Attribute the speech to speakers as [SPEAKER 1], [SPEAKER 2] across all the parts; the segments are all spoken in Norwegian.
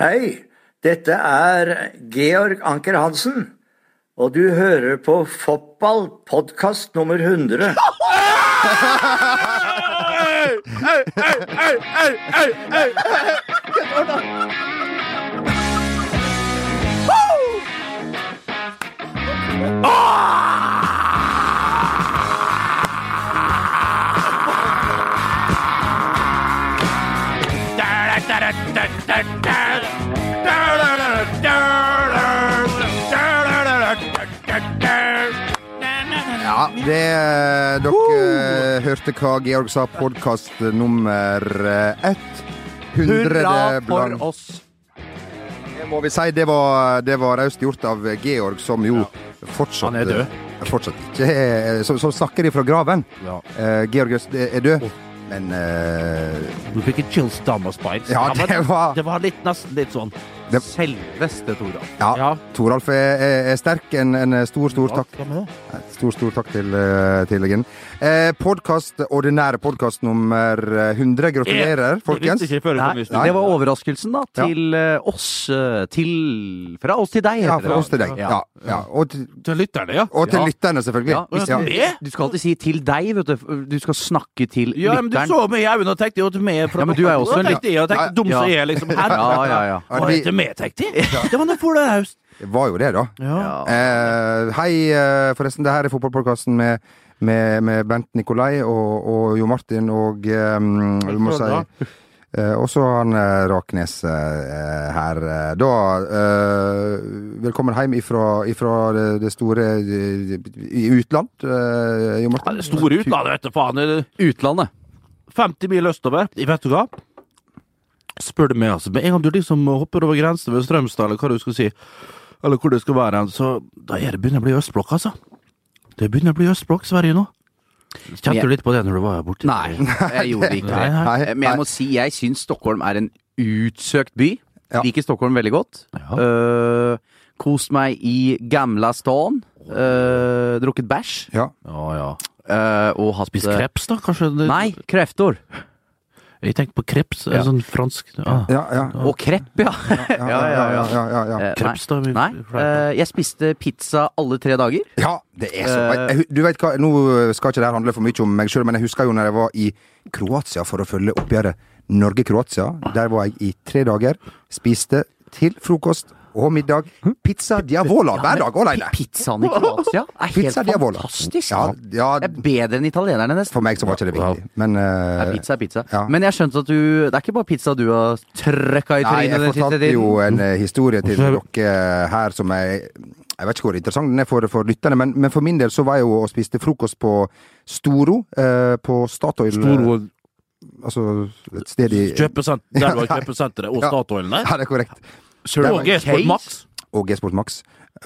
[SPEAKER 1] Hei, dette er Georg Anker Hansen, og du hører på Fotball podkast nummer 100.
[SPEAKER 2] Ja, det eh, Dere eh, hørte hva Georg sa. Podkast nummer eh, ett.
[SPEAKER 3] Hurra
[SPEAKER 2] Hundrede
[SPEAKER 3] for
[SPEAKER 2] blant
[SPEAKER 3] oss.
[SPEAKER 2] Det må vi si. Det var det var raust gjort av Georg, som jo fortsatt
[SPEAKER 3] Han er død.
[SPEAKER 2] eh, Fortsatt ikke er- Som, som snakker ifra graven.
[SPEAKER 3] Ja.
[SPEAKER 2] Eh, Georg Øst er død, men eh,
[SPEAKER 3] Du fikk en chills down my spine.
[SPEAKER 2] Ja, det var-
[SPEAKER 3] det var litt, nesten litt sånn
[SPEAKER 2] Det-
[SPEAKER 3] Selveste Tora.
[SPEAKER 2] Ja. Toralf er, er, er sterk. En, en stor, stor takk.
[SPEAKER 3] Hva med det?
[SPEAKER 2] Stor, stor takk til, eh, til Eggen. Eh, podcast, ordinære podkast nummer 100. Gratulerer, folkens.
[SPEAKER 3] Eh, Det, visste ikke
[SPEAKER 4] Nei,
[SPEAKER 3] før vi kom ut.
[SPEAKER 4] det var overraskelsen, da.
[SPEAKER 2] Ja.
[SPEAKER 4] Til eh, oss. eh, Til Fra oss til deg,
[SPEAKER 2] Ja,
[SPEAKER 4] heter
[SPEAKER 2] fra oss til deg.
[SPEAKER 4] Ja.
[SPEAKER 2] Ja, ja. Og, til-
[SPEAKER 3] Til lytterne, ja.
[SPEAKER 2] og til
[SPEAKER 4] Ja.
[SPEAKER 2] lytterne, selvfølgelig.
[SPEAKER 4] Ja,
[SPEAKER 2] Ja.
[SPEAKER 3] Det? Ja,
[SPEAKER 4] Du skal alltid si 'til deg', vet du. Du skal snakke til
[SPEAKER 3] men du så
[SPEAKER 4] lytteren.
[SPEAKER 3] meg i øynene og tenkte jo at vi er fra
[SPEAKER 4] Ja, men du er også
[SPEAKER 3] Da
[SPEAKER 4] en
[SPEAKER 3] tenkte jeg, og tenkte,
[SPEAKER 2] lytt-
[SPEAKER 3] dum som jeg er, liksom. Her.
[SPEAKER 4] Ja, ja, ja.
[SPEAKER 3] Hva heter vi, tenkte jeg? Det var noe for det høst.
[SPEAKER 2] Det var jo det, da.
[SPEAKER 4] Ja.
[SPEAKER 2] Eh, hei, eh, forresten. Det her er fotballpodkasten med, med, med Bent Nikolai og, og Jo Martin og eh, Vi må si
[SPEAKER 3] Velkommen.
[SPEAKER 2] eh, også han eh, Raknes eh, her. eh, Da eh, Velkommen hjem ifra, ifra det, det store eh, i utland, eh,
[SPEAKER 3] Ja,
[SPEAKER 2] Jo Martin.
[SPEAKER 3] det Store utlandet, vet du faen. Det er
[SPEAKER 4] Utlandet.
[SPEAKER 3] 50 mil østover. Vet du hva? Spør du meg, altså. Med en gang du liksom hopper over grensen ved Strømstad, eller hva du skal si, eller hvor det skal være, hen, så da er det begynner det å bli østblokk, altså. Det begynner å bli østblokk, Sverige, nå. Kjente du litt på det når du var borte?
[SPEAKER 4] Nei, jeg gjorde ikke det.
[SPEAKER 3] Nei,
[SPEAKER 2] Hei,
[SPEAKER 4] Men jeg
[SPEAKER 2] hei.
[SPEAKER 4] må si jeg syns Stockholm er en utsøkt by.
[SPEAKER 2] Ja.
[SPEAKER 4] Liker Stockholm veldig godt. Eh, kost meg i gamla stan. Eh, drukket bæsj.
[SPEAKER 2] Ja.
[SPEAKER 3] Ja, ja.
[SPEAKER 4] eh, og hatt
[SPEAKER 3] Spis kreps, da, kanskje? Det-
[SPEAKER 4] Nei, kreftor.
[SPEAKER 3] Jeg tenkte på kreps,
[SPEAKER 4] Ja.
[SPEAKER 3] sånn fransk ah,
[SPEAKER 2] Ja, ja.
[SPEAKER 4] Og krepp, ja.
[SPEAKER 2] Ja, ja, ja. ja, ja, ja.
[SPEAKER 4] Eh,
[SPEAKER 3] Kreps, da. vi-
[SPEAKER 4] Nei, eh, jeg spiste pizza alle tre dager.
[SPEAKER 2] Ja, det er så jeg, hu- Du vet hva, Nå skal ikke det her handle for mye om meg sjøl, men jeg husker jo når jeg var i Kroatia for å følge oppgjøret Norge-Kroatia. Der var jeg i tre dager. Spiste til frokost og middag pizza diavola hver dag alene.
[SPEAKER 4] Pi- Pizzaen i Kroatia er helt
[SPEAKER 2] Pizza diavola.
[SPEAKER 4] fantastisk.
[SPEAKER 2] Ja, ja.
[SPEAKER 4] Det er bedre enn italienerne, nesten.
[SPEAKER 2] For meg så var ikke det viktig, men
[SPEAKER 4] Nei,
[SPEAKER 2] eh,
[SPEAKER 4] pizza er pizza.
[SPEAKER 2] Ja.
[SPEAKER 4] Men jeg skjønte at du Det er ikke bare pizza du har trøkka i
[SPEAKER 2] Nei,
[SPEAKER 4] trynet
[SPEAKER 2] jeg
[SPEAKER 4] den siste
[SPEAKER 2] fortalte
[SPEAKER 4] tiden.
[SPEAKER 2] jo en eh, historie til
[SPEAKER 3] Hvorfor er
[SPEAKER 2] dere her som jeg Jeg vet ikke hvor interessant den er for, for lytterne, men, men for min del så var jeg jo og spiste frokost på Storo, eh, på Statoil
[SPEAKER 3] Storo og
[SPEAKER 2] Altså et sted i
[SPEAKER 3] kjøpesenter, der var kjøpesenteret og
[SPEAKER 2] Ja.
[SPEAKER 3] Statoil der.
[SPEAKER 2] Ja, det er korrekt.
[SPEAKER 3] Søren, Og G-Sport
[SPEAKER 4] Case.
[SPEAKER 3] Max.
[SPEAKER 2] og G-Sport Max.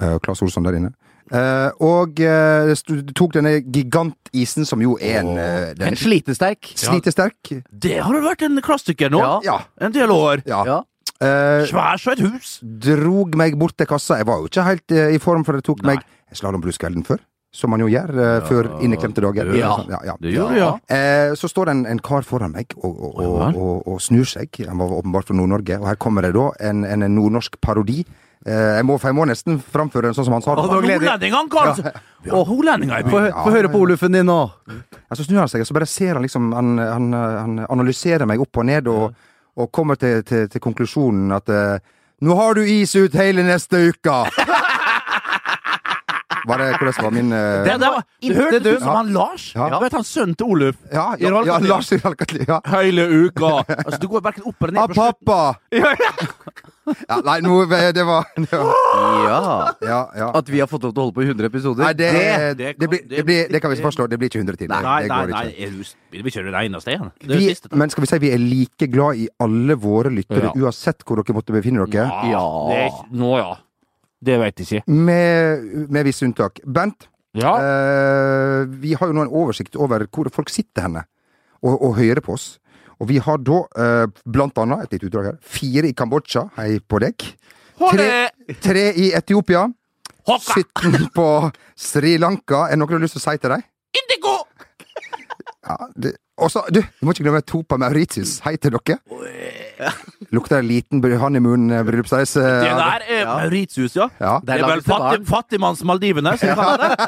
[SPEAKER 2] eh, Claes Olsson der inne. Eh, og eh, stu- tok denne gigantisen, som jo er en, eh, den,
[SPEAKER 4] En slitesterk.
[SPEAKER 2] slitesterk
[SPEAKER 3] Det har jo vært en klassiker nå.
[SPEAKER 4] Ja.
[SPEAKER 2] Ja.
[SPEAKER 3] En del år.
[SPEAKER 2] ja.
[SPEAKER 4] Ja.
[SPEAKER 2] Eh,
[SPEAKER 3] Svær som et hus.
[SPEAKER 2] drog meg bort til kassa. Jeg var jo ikke helt eh, i form, for det tok meg slalåmbrus kvelden før. Som man jo gjør eh, før inneklemte dager.
[SPEAKER 4] Ja.
[SPEAKER 2] ja, ja.
[SPEAKER 3] Det gjorde det, ja.
[SPEAKER 2] Eh, Så står det en, en kar foran meg og, og, og,
[SPEAKER 3] Ja vel.
[SPEAKER 2] og, og snur seg. Han var åpenbart fra Nord-Norge. Og her kommer det da en, en nordnorsk parodi. Eh, Jeg må, for jeg må nesten framføre den sånn som han sa
[SPEAKER 3] Og
[SPEAKER 2] den.
[SPEAKER 3] Nordlendingene, kanskje. Og holendinger i
[SPEAKER 4] Få
[SPEAKER 3] byen.
[SPEAKER 4] hø- få høre på olufen din nå.
[SPEAKER 2] Ja, så snur han seg, og så bare ser han liksom Han, han, han analyserer meg opp og ned, og, og kommer til, til, til konklusjonen at eh, Nå har du is ut hele neste uka! Var det hvordan var min eh,
[SPEAKER 3] Det, det, var- det
[SPEAKER 4] Inntil
[SPEAKER 3] hørtes
[SPEAKER 4] du-
[SPEAKER 3] ut som han Lars.
[SPEAKER 2] Ja.
[SPEAKER 3] Vet du, han sønnen til Oluf.
[SPEAKER 2] ja, ja,
[SPEAKER 3] Irald
[SPEAKER 2] ja,
[SPEAKER 3] Katli.
[SPEAKER 2] Lars Irald Katli. Ja.
[SPEAKER 3] Hele uka. Altså, du går hverken opp eller
[SPEAKER 2] Ah,
[SPEAKER 3] ned. på slutten.
[SPEAKER 2] pappa! Ja, nei, nå eh, Det var, det var
[SPEAKER 4] Ja.
[SPEAKER 2] Ja, ja.
[SPEAKER 4] At vi har fått lov til å holde på i 100 episoder.
[SPEAKER 2] Nei, det,
[SPEAKER 3] det-
[SPEAKER 2] det,
[SPEAKER 3] det
[SPEAKER 2] blir,
[SPEAKER 3] kan-
[SPEAKER 2] det, blir, det kan vi fastslå. Det blir ikke 100 til. Det,
[SPEAKER 3] Nei,
[SPEAKER 2] det
[SPEAKER 3] nei,
[SPEAKER 2] går
[SPEAKER 3] nei.
[SPEAKER 2] ikke.
[SPEAKER 3] er du- Vil vi kjøre det eneste igjen? Det er
[SPEAKER 2] Vi,
[SPEAKER 3] det siste. da.
[SPEAKER 2] men skal vi si vi er like glad i alle våre
[SPEAKER 3] Ja.
[SPEAKER 2] lyttere, uansett hvor dere måtte befinne dere?
[SPEAKER 4] Ja.
[SPEAKER 3] Ah, Det er- Nå, ja. Det veit jeg ikke.
[SPEAKER 2] Med, med visse unntak. Bent,
[SPEAKER 3] Ja.
[SPEAKER 2] Eh, vi har jo nå en oversikt over hvor folk sitter henne og, og hører på oss. Og vi har da eh, blant annet et lite utdrag her. Fire i Kambodsja, hei på deg. Tre,
[SPEAKER 3] Holde!
[SPEAKER 2] tre i Etiopia.
[SPEAKER 3] Hokka!
[SPEAKER 2] 17 på Sri Lanka. Er det noe du har lyst til å si til dem?
[SPEAKER 3] Indigo!
[SPEAKER 2] Ja, det- og så, du, du må ikke glemme Topa Mauritius. Hei til dere. Lukter en liten bry- hand i munnen, eh, bryllupsreise.
[SPEAKER 3] Det der er eh, Mauritius, ja.
[SPEAKER 2] Ja.
[SPEAKER 3] Det er vel
[SPEAKER 4] Der lages det
[SPEAKER 3] fattig,
[SPEAKER 4] barn.
[SPEAKER 3] fattigmanns-Maldivene som kaller det.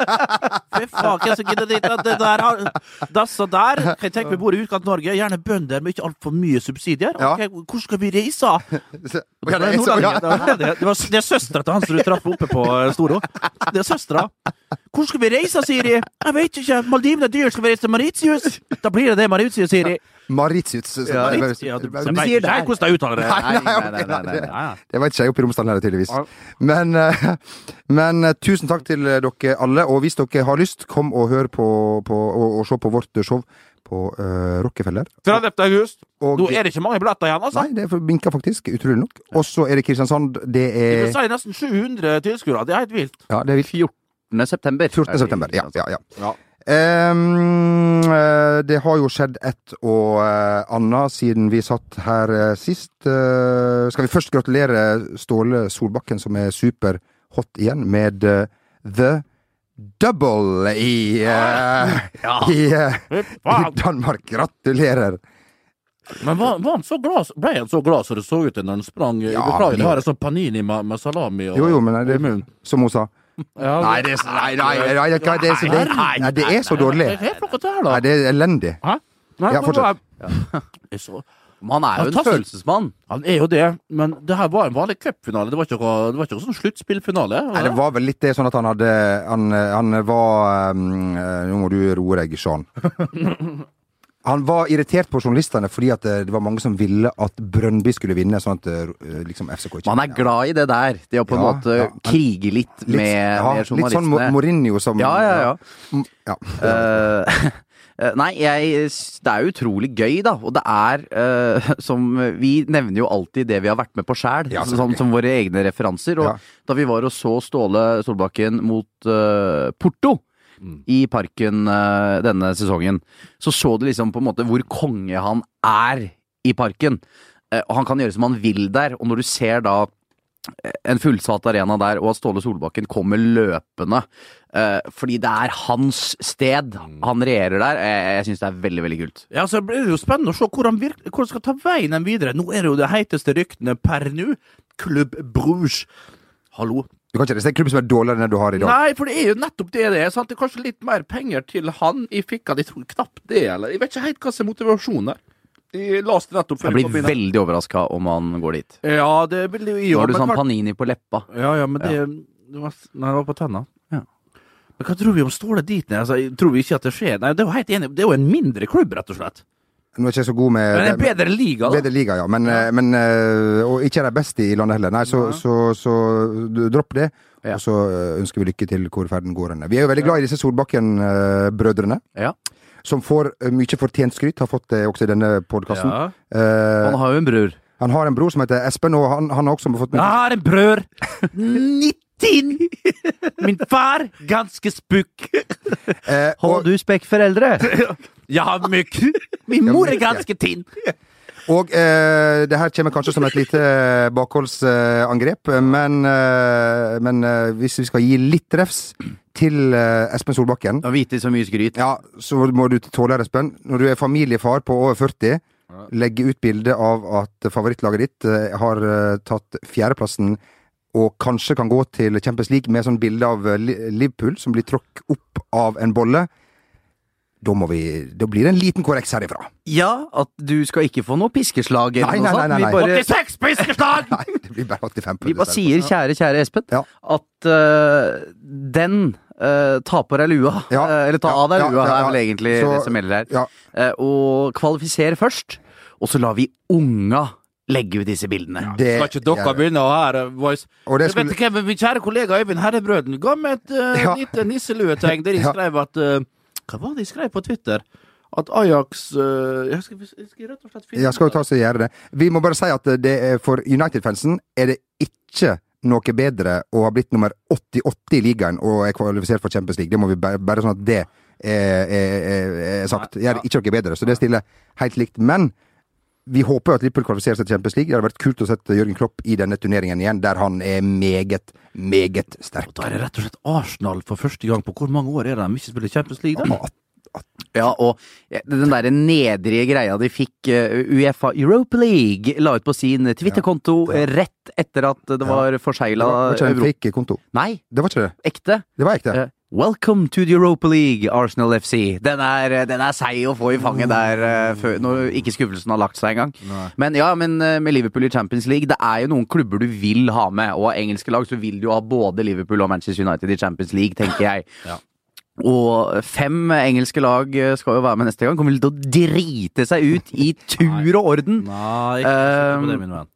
[SPEAKER 3] Fy faen, hvem som gidder dit? Det der har Disse der kan jeg tenke meg bor i Utkant-Norge. Gjerne bønder med ikke altfor mye subsidier.
[SPEAKER 2] Ja.
[SPEAKER 3] Ok, hvor skal vi reise?
[SPEAKER 2] Ja,
[SPEAKER 3] Det,
[SPEAKER 2] det er så- ja.
[SPEAKER 3] det, det, var- det er søstera til han som du traff oppe på eh, Storo. Det er søstera. Hvor skal vi reise, Siri? Jeg vet ikke. Maldivene er dyrt. Skal vi reise til Mauritius? Da blir det det Mauritius, Siri.
[SPEAKER 2] Mauritius. så-
[SPEAKER 4] Ja,
[SPEAKER 2] bare-
[SPEAKER 3] Ja, du,
[SPEAKER 2] bare-
[SPEAKER 3] jeg vet ikke hvordan de uttaler det.
[SPEAKER 4] Nei, nei, nei, nei, nei, nei.
[SPEAKER 3] Ja, ja.
[SPEAKER 2] Det var ikke jeg oppe i Romsdalen her, tydeligvis.
[SPEAKER 3] Ja.
[SPEAKER 2] Men, eh, men eh, tusen takk til eh, dere alle, og hvis dere har lyst, kom og hør på, på og, og se på vårt show på eh, Rockefeller.
[SPEAKER 3] 30. august.
[SPEAKER 2] Og,
[SPEAKER 3] Nå er det ikke mange billetter igjen, altså.
[SPEAKER 2] Nei, det vinker faktisk, utrolig nok. Og så er det Kristiansand, det
[SPEAKER 3] Vi
[SPEAKER 2] er
[SPEAKER 3] sier nesten 700 tilskuere. Det er helt vilt.
[SPEAKER 2] Ja, det er vilt.
[SPEAKER 4] 14. september.
[SPEAKER 2] 14. september. Ja, ja, altså. ja.
[SPEAKER 3] Ja.
[SPEAKER 2] Ehm, eh, det har jo skjedd et og eh, annet siden vi satt her eh, sist. Eh, skal vi først gratulere Ståle Solbakken, som er superhot igjen, med eh, The Double i, eh, i, eh,
[SPEAKER 3] Fy
[SPEAKER 2] i
[SPEAKER 3] faen.
[SPEAKER 2] Danmark. Gratulerer!
[SPEAKER 3] Men var, var han så glad, ble han så glad som det så ut da han sprang?
[SPEAKER 2] Ja,
[SPEAKER 3] Beklager,
[SPEAKER 2] blir-
[SPEAKER 3] jeg har en sånn panini med, med salami og
[SPEAKER 2] Jo, jo, men nei,
[SPEAKER 3] i munnen.
[SPEAKER 2] det, som hun sa
[SPEAKER 3] Ja,
[SPEAKER 2] Nei, det er, så- nei, nei, nei, nei, det er- det, er- det, er- nei, det er så dårlig.
[SPEAKER 3] Hva er det her, da?
[SPEAKER 2] Nei, det er elendig.
[SPEAKER 3] Hæ? Nei,
[SPEAKER 2] Ja,
[SPEAKER 3] nå
[SPEAKER 2] fortsett.
[SPEAKER 3] var jeg- Jeg så-
[SPEAKER 4] Men Han er jo en
[SPEAKER 3] Fantastisk.
[SPEAKER 4] følelsesmann.
[SPEAKER 3] Han er jo det, men det her var en vanlig cupfinale. Det var ikke noe, det var ikke noe sånn sluttspillfinale. var
[SPEAKER 2] Nei, det var vel litt det sånn at han hadde Han, han var um, eh, Nå må du roe deg, Sean. Han var irritert på journalistene fordi at eh, det var mange som ville at Brøndby skulle vinne. Sånn at eh, liksom FCK ikke
[SPEAKER 4] Man er glad i det der. De har på en
[SPEAKER 2] Ja,
[SPEAKER 4] måte
[SPEAKER 2] ja.
[SPEAKER 4] kriget litt,
[SPEAKER 2] Litt-
[SPEAKER 4] med,
[SPEAKER 2] ja,
[SPEAKER 4] med
[SPEAKER 2] Litt sånn
[SPEAKER 4] journalistene.
[SPEAKER 2] Mo- Mourinho som
[SPEAKER 4] ja, ja, ja.
[SPEAKER 2] Mm, ja.
[SPEAKER 4] Eh, eh, nei, jeg, s- det er jo utrolig gøy, da. Og det er eh, som Vi nevner jo alltid det vi har vært med på sjæl,
[SPEAKER 2] Ja,
[SPEAKER 4] som, som våre egne referanser. Og
[SPEAKER 2] Ja.
[SPEAKER 4] da vi var og så Ståle Solbakken mot eh, Porto i parken eh, denne sesongen, så så du liksom på en måte hvor konge han er i parken. Eh, og han kan gjøre som han vil der. Og når du ser da eh, en fullsatt arena der, og at Ståle Solbakken kommer løpende. eh, fordi det er hans sted. Han regjerer der. eh, Jeg, jeg syns det er veldig, veldig kult.
[SPEAKER 3] Ja, så blir det jo spennende å se hvor han, virk- hvor han skal ta veien den videre. Nå er det jo det heiteste ryktene per nå. Klubb Bruges. Hallo.
[SPEAKER 2] Du kan ikke reise en klubb som er dårligere enn det du har i dag.
[SPEAKER 3] Nei, for det er jo nettopp det det er. sant? Det er kanskje litt mer penger til han i fikka. De tror knapt det, eller Jeg vet ikke helt hva som er motivasjonen der. De leste nettopp før
[SPEAKER 4] Jeg
[SPEAKER 3] vi
[SPEAKER 4] blir
[SPEAKER 3] kom inn her.
[SPEAKER 4] veldig overraska om han går dit.
[SPEAKER 3] Ja, det vil jo
[SPEAKER 4] Nå har du
[SPEAKER 3] men
[SPEAKER 4] sånn
[SPEAKER 3] hvert-
[SPEAKER 4] panini på leppa.
[SPEAKER 3] Ja, ja, men det, det var, Nei, det var på tenna.
[SPEAKER 4] Ja.
[SPEAKER 3] Men hva tror vi om Ståle dit ned? Altså, jeg tror vi ikke at det skjer? Nei, det er jo helt enig. Det er jo en mindre klubb, rett og slett.
[SPEAKER 2] Nå er ikke jeg så god
[SPEAKER 4] Eh,
[SPEAKER 2] med
[SPEAKER 3] Men en bedre liga, da.
[SPEAKER 2] Bedre liga, ja. Men, eh, men eh, og ikke er de beste i landet heller. Nei, så, så, så, du- dropp det.
[SPEAKER 4] Ja.
[SPEAKER 2] Og så eh, ønsker vi lykke til hvor ferden går hen. Vi er jo veldig glad i disse Solbakken-brødrene.
[SPEAKER 4] Ja.
[SPEAKER 2] Som får eh, mye fortjent skryt, har fått det også i denne podkasten.
[SPEAKER 3] Ja.
[SPEAKER 4] Han har jo en bror.
[SPEAKER 2] han har en bror som heter Espen, og han, han har også fått
[SPEAKER 3] Jeg
[SPEAKER 2] mye
[SPEAKER 3] har en brør 19 Min far ganske spukk
[SPEAKER 2] Eh,
[SPEAKER 4] Hold
[SPEAKER 2] og,
[SPEAKER 4] du spekk foreldre!
[SPEAKER 3] Jeg har mygg Min mor er ganske tinn
[SPEAKER 2] og eh, det her kommer kanskje som et lite eh, bakholdsangrep, eh, men, eh, men eh, hvis vi skal gi litt refs til eh, Espen Solbakken
[SPEAKER 4] Å vite så mye skryt.
[SPEAKER 2] Ja, så må du tåle Espen. Når du er familiefar på over 40, legge ut bilde av at favorittlaget ditt eh, har eh, tatt fjerdeplassen og kanskje kan gå til Champions League med sånn bilde av eh, Li- Liverpool som blir tråkk opp av en bolle. Da, må vi, da blir det en liten korreks herifra.
[SPEAKER 4] Ja, at du skal ikke få noe piskeslag
[SPEAKER 2] Nei,
[SPEAKER 4] eller noe
[SPEAKER 2] nei,
[SPEAKER 4] sånt.
[SPEAKER 2] nei, nei, nei.
[SPEAKER 4] Vi bare,
[SPEAKER 3] 86 piskeslag
[SPEAKER 2] Nei, det blir bare 85
[SPEAKER 4] vi bare sier, kjære, kjære Espen,
[SPEAKER 2] Ja.
[SPEAKER 4] at eh, den eh, ta på deg lua.
[SPEAKER 2] Ja.
[SPEAKER 4] Eh, eller ta
[SPEAKER 2] Ja,
[SPEAKER 4] av deg
[SPEAKER 2] ja,
[SPEAKER 4] lua,
[SPEAKER 2] ja,
[SPEAKER 4] er vel
[SPEAKER 2] ja.
[SPEAKER 4] egentlig
[SPEAKER 2] Så-
[SPEAKER 4] det som gjelder her.
[SPEAKER 2] Ja,
[SPEAKER 4] eh, og kvalifisere først. Og så lar vi unga legge ut disse bildene.
[SPEAKER 2] det,
[SPEAKER 3] Skal ikke dere begynne å her, boys
[SPEAKER 2] Og det
[SPEAKER 3] Jeg vet
[SPEAKER 2] skulle,
[SPEAKER 3] ikke, men Min kjære kollega Øyvind Herrebrøden Ga meg et eh,
[SPEAKER 2] Ja.
[SPEAKER 3] lite nisseluetegn Der de
[SPEAKER 2] Ja.
[SPEAKER 3] skrev at eh, Hva var det de skrev på Twitter? At Ajax eh, jeg, skal, jeg skal rett og slett finne
[SPEAKER 2] ja, skal jo ta oss og gjøre det. Vi må bare si at det er, for United-fansen er det ikke noe bedre å ha blitt nummer 88 i ligaen og er kvalifisert for Champions League. Det må vi bare, bare sånn at det er, er, er, er sagt. Gjør ikke noe bedre, så det stiller helt likt. Men vi håper jo at Liverpool kvalifiserer seg til Champions League. Det hadde vært kult å sette Jørgen Klopp i denne turneringen igjen, der han er meget, meget sterk.
[SPEAKER 3] Da er det rett og slett Arsenal for første gang på hvor mange år er det de ikke spiller Champions League? da?
[SPEAKER 2] Ja,
[SPEAKER 4] Ja, og den derre nedrige greia de fikk eh, Uefa Europa League la ut på sin Twitter-konto eh, rett etter at det var
[SPEAKER 2] Det
[SPEAKER 4] forsegla
[SPEAKER 2] var ikke en
[SPEAKER 4] Europa...
[SPEAKER 2] fake konto.
[SPEAKER 4] Nei,
[SPEAKER 2] Det var ikke det.
[SPEAKER 4] ekte.
[SPEAKER 2] Det var ekte.
[SPEAKER 4] Eh, Welcome to the Europa League, Arsenal FC. Den er, eh, den er seig å få i
[SPEAKER 2] Mm.
[SPEAKER 4] fanget der eh, før, når ikke skuffelsen har lagt seg engang. Men ja, men eh, med Liverpool i Champions League, det er jo noen klubber du vil ha med. Og av engelske lag så vil du jo ha både Liverpool og Manchester United i Champions League, tenker jeg. Og fem engelske lag eh, skal jo være med neste gang. Kommer vel til å drite seg ut i tur og orden.
[SPEAKER 3] Nei, ikke sikker på det,
[SPEAKER 4] Eh,
[SPEAKER 3] min venn.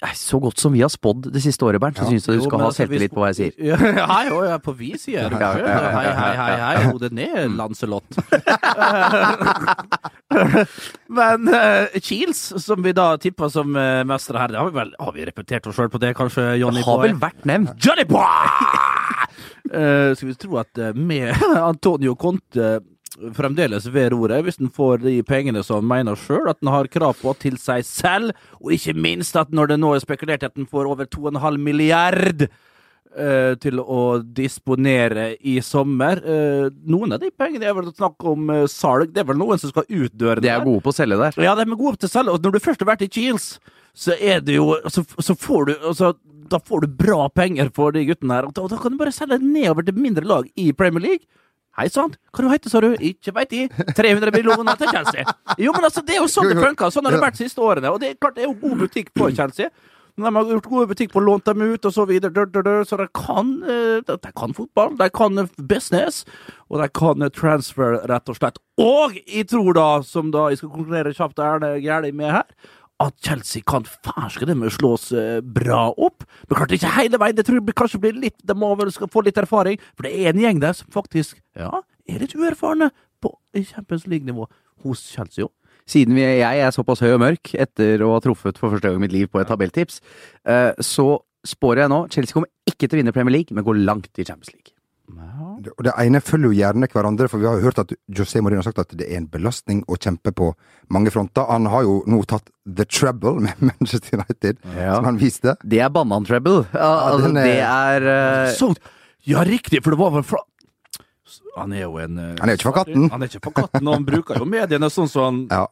[SPEAKER 4] Nei, Så godt som vi har spådd det siste året, Bernt, så syns jeg du
[SPEAKER 3] Jo,
[SPEAKER 4] skal
[SPEAKER 3] men
[SPEAKER 4] ha
[SPEAKER 3] altså, hvis-
[SPEAKER 4] selvtillit på hva jeg sier.
[SPEAKER 3] Ja, hei, å, jeg er på vi, sier jeg.
[SPEAKER 4] Ja, ja, ja, Mm. ja,
[SPEAKER 3] Hei,
[SPEAKER 4] ja.
[SPEAKER 3] hei, hei, hei, hodet ned, Lancelot. Men eh, Kiels, som vi da tippa som eh, mestere her, det har vi vel Har vi repetert oss sjøl på det, kanskje, Johnny
[SPEAKER 4] Det har
[SPEAKER 3] Boy?
[SPEAKER 4] vel vært nevnt.
[SPEAKER 3] Johnny Boy! Eh, skal vi tro at eh, med Antonio Conte eh, fremdeles ved roret, hvis han får de pengene som han mener sjøl at han har krav på til seg selv, og ikke minst at når det nå er spekulert at han får over 2,5 milliard eh, til å disponere i sommer eh, Noen av de pengene er vel snakk om eh, salg, det er vel noen som skal ut døren
[SPEAKER 4] De er
[SPEAKER 3] der.
[SPEAKER 4] gode på å selge der.
[SPEAKER 3] Ja, de er gode til salg, og når du først har vært i Kiels, så er det jo Så, så får du altså, Da får du bra penger for de guttene her, og da, da kan du bare selge det nedover til mindre lag i Premier League. Hei sann, hva du heter du, sa du? Ikke veit de. 300 millioner til Chelsea. Jo, men altså, det er jo sånn det funker. Sånn har det vært de siste årene. Og det er klart, det er jo god butikk på Chelsea. Men de har gjort god butikk på å låne dem ut og så videre. Dør, dør, dør. Så de kan, eh, de de kan fotball, de kan eh, business, og de kan eh, transfer, rett og slett. Og jeg tror da, som da jeg skal konkurrere kjapt og Erne Gjerli med her, at Chelsea kan ferske dem med å slås eh, bra opp. Men klart ikke hele veien. Det tror jeg blir- kanskje blir litt De må vel skal få litt erfaring. For det er en gjeng der som faktisk ja, er litt uerfarne på i Champions League-nivå hos Chelsea òg.
[SPEAKER 4] Siden vi, jeg er såpass høy og mørk etter å ha truffet for første gang i mitt liv på et tabelltips, eh, så spår jeg nå Chelsea kommer ikke til å vinne Premier League, men går langt i Champions League.
[SPEAKER 2] Det- Og det ene følger jo gjerne hverandre, for vi har jo hørt at José Mourinho har sagt at det er en belastning å kjempe på mange fronter. Han har jo nå tatt the trouble med Manchester United,
[SPEAKER 4] Ja.
[SPEAKER 2] som han viste.
[SPEAKER 4] Det er banan-treble. Ja, altså,
[SPEAKER 2] den er-
[SPEAKER 4] det er eh,
[SPEAKER 3] Sånn! Ja, riktig, for det var vel fra Han er jo en eh,
[SPEAKER 2] Han er jo ikke fra katten.
[SPEAKER 3] Han er ikke for katten, og han bruker jo mediene sånn som han
[SPEAKER 2] Ja.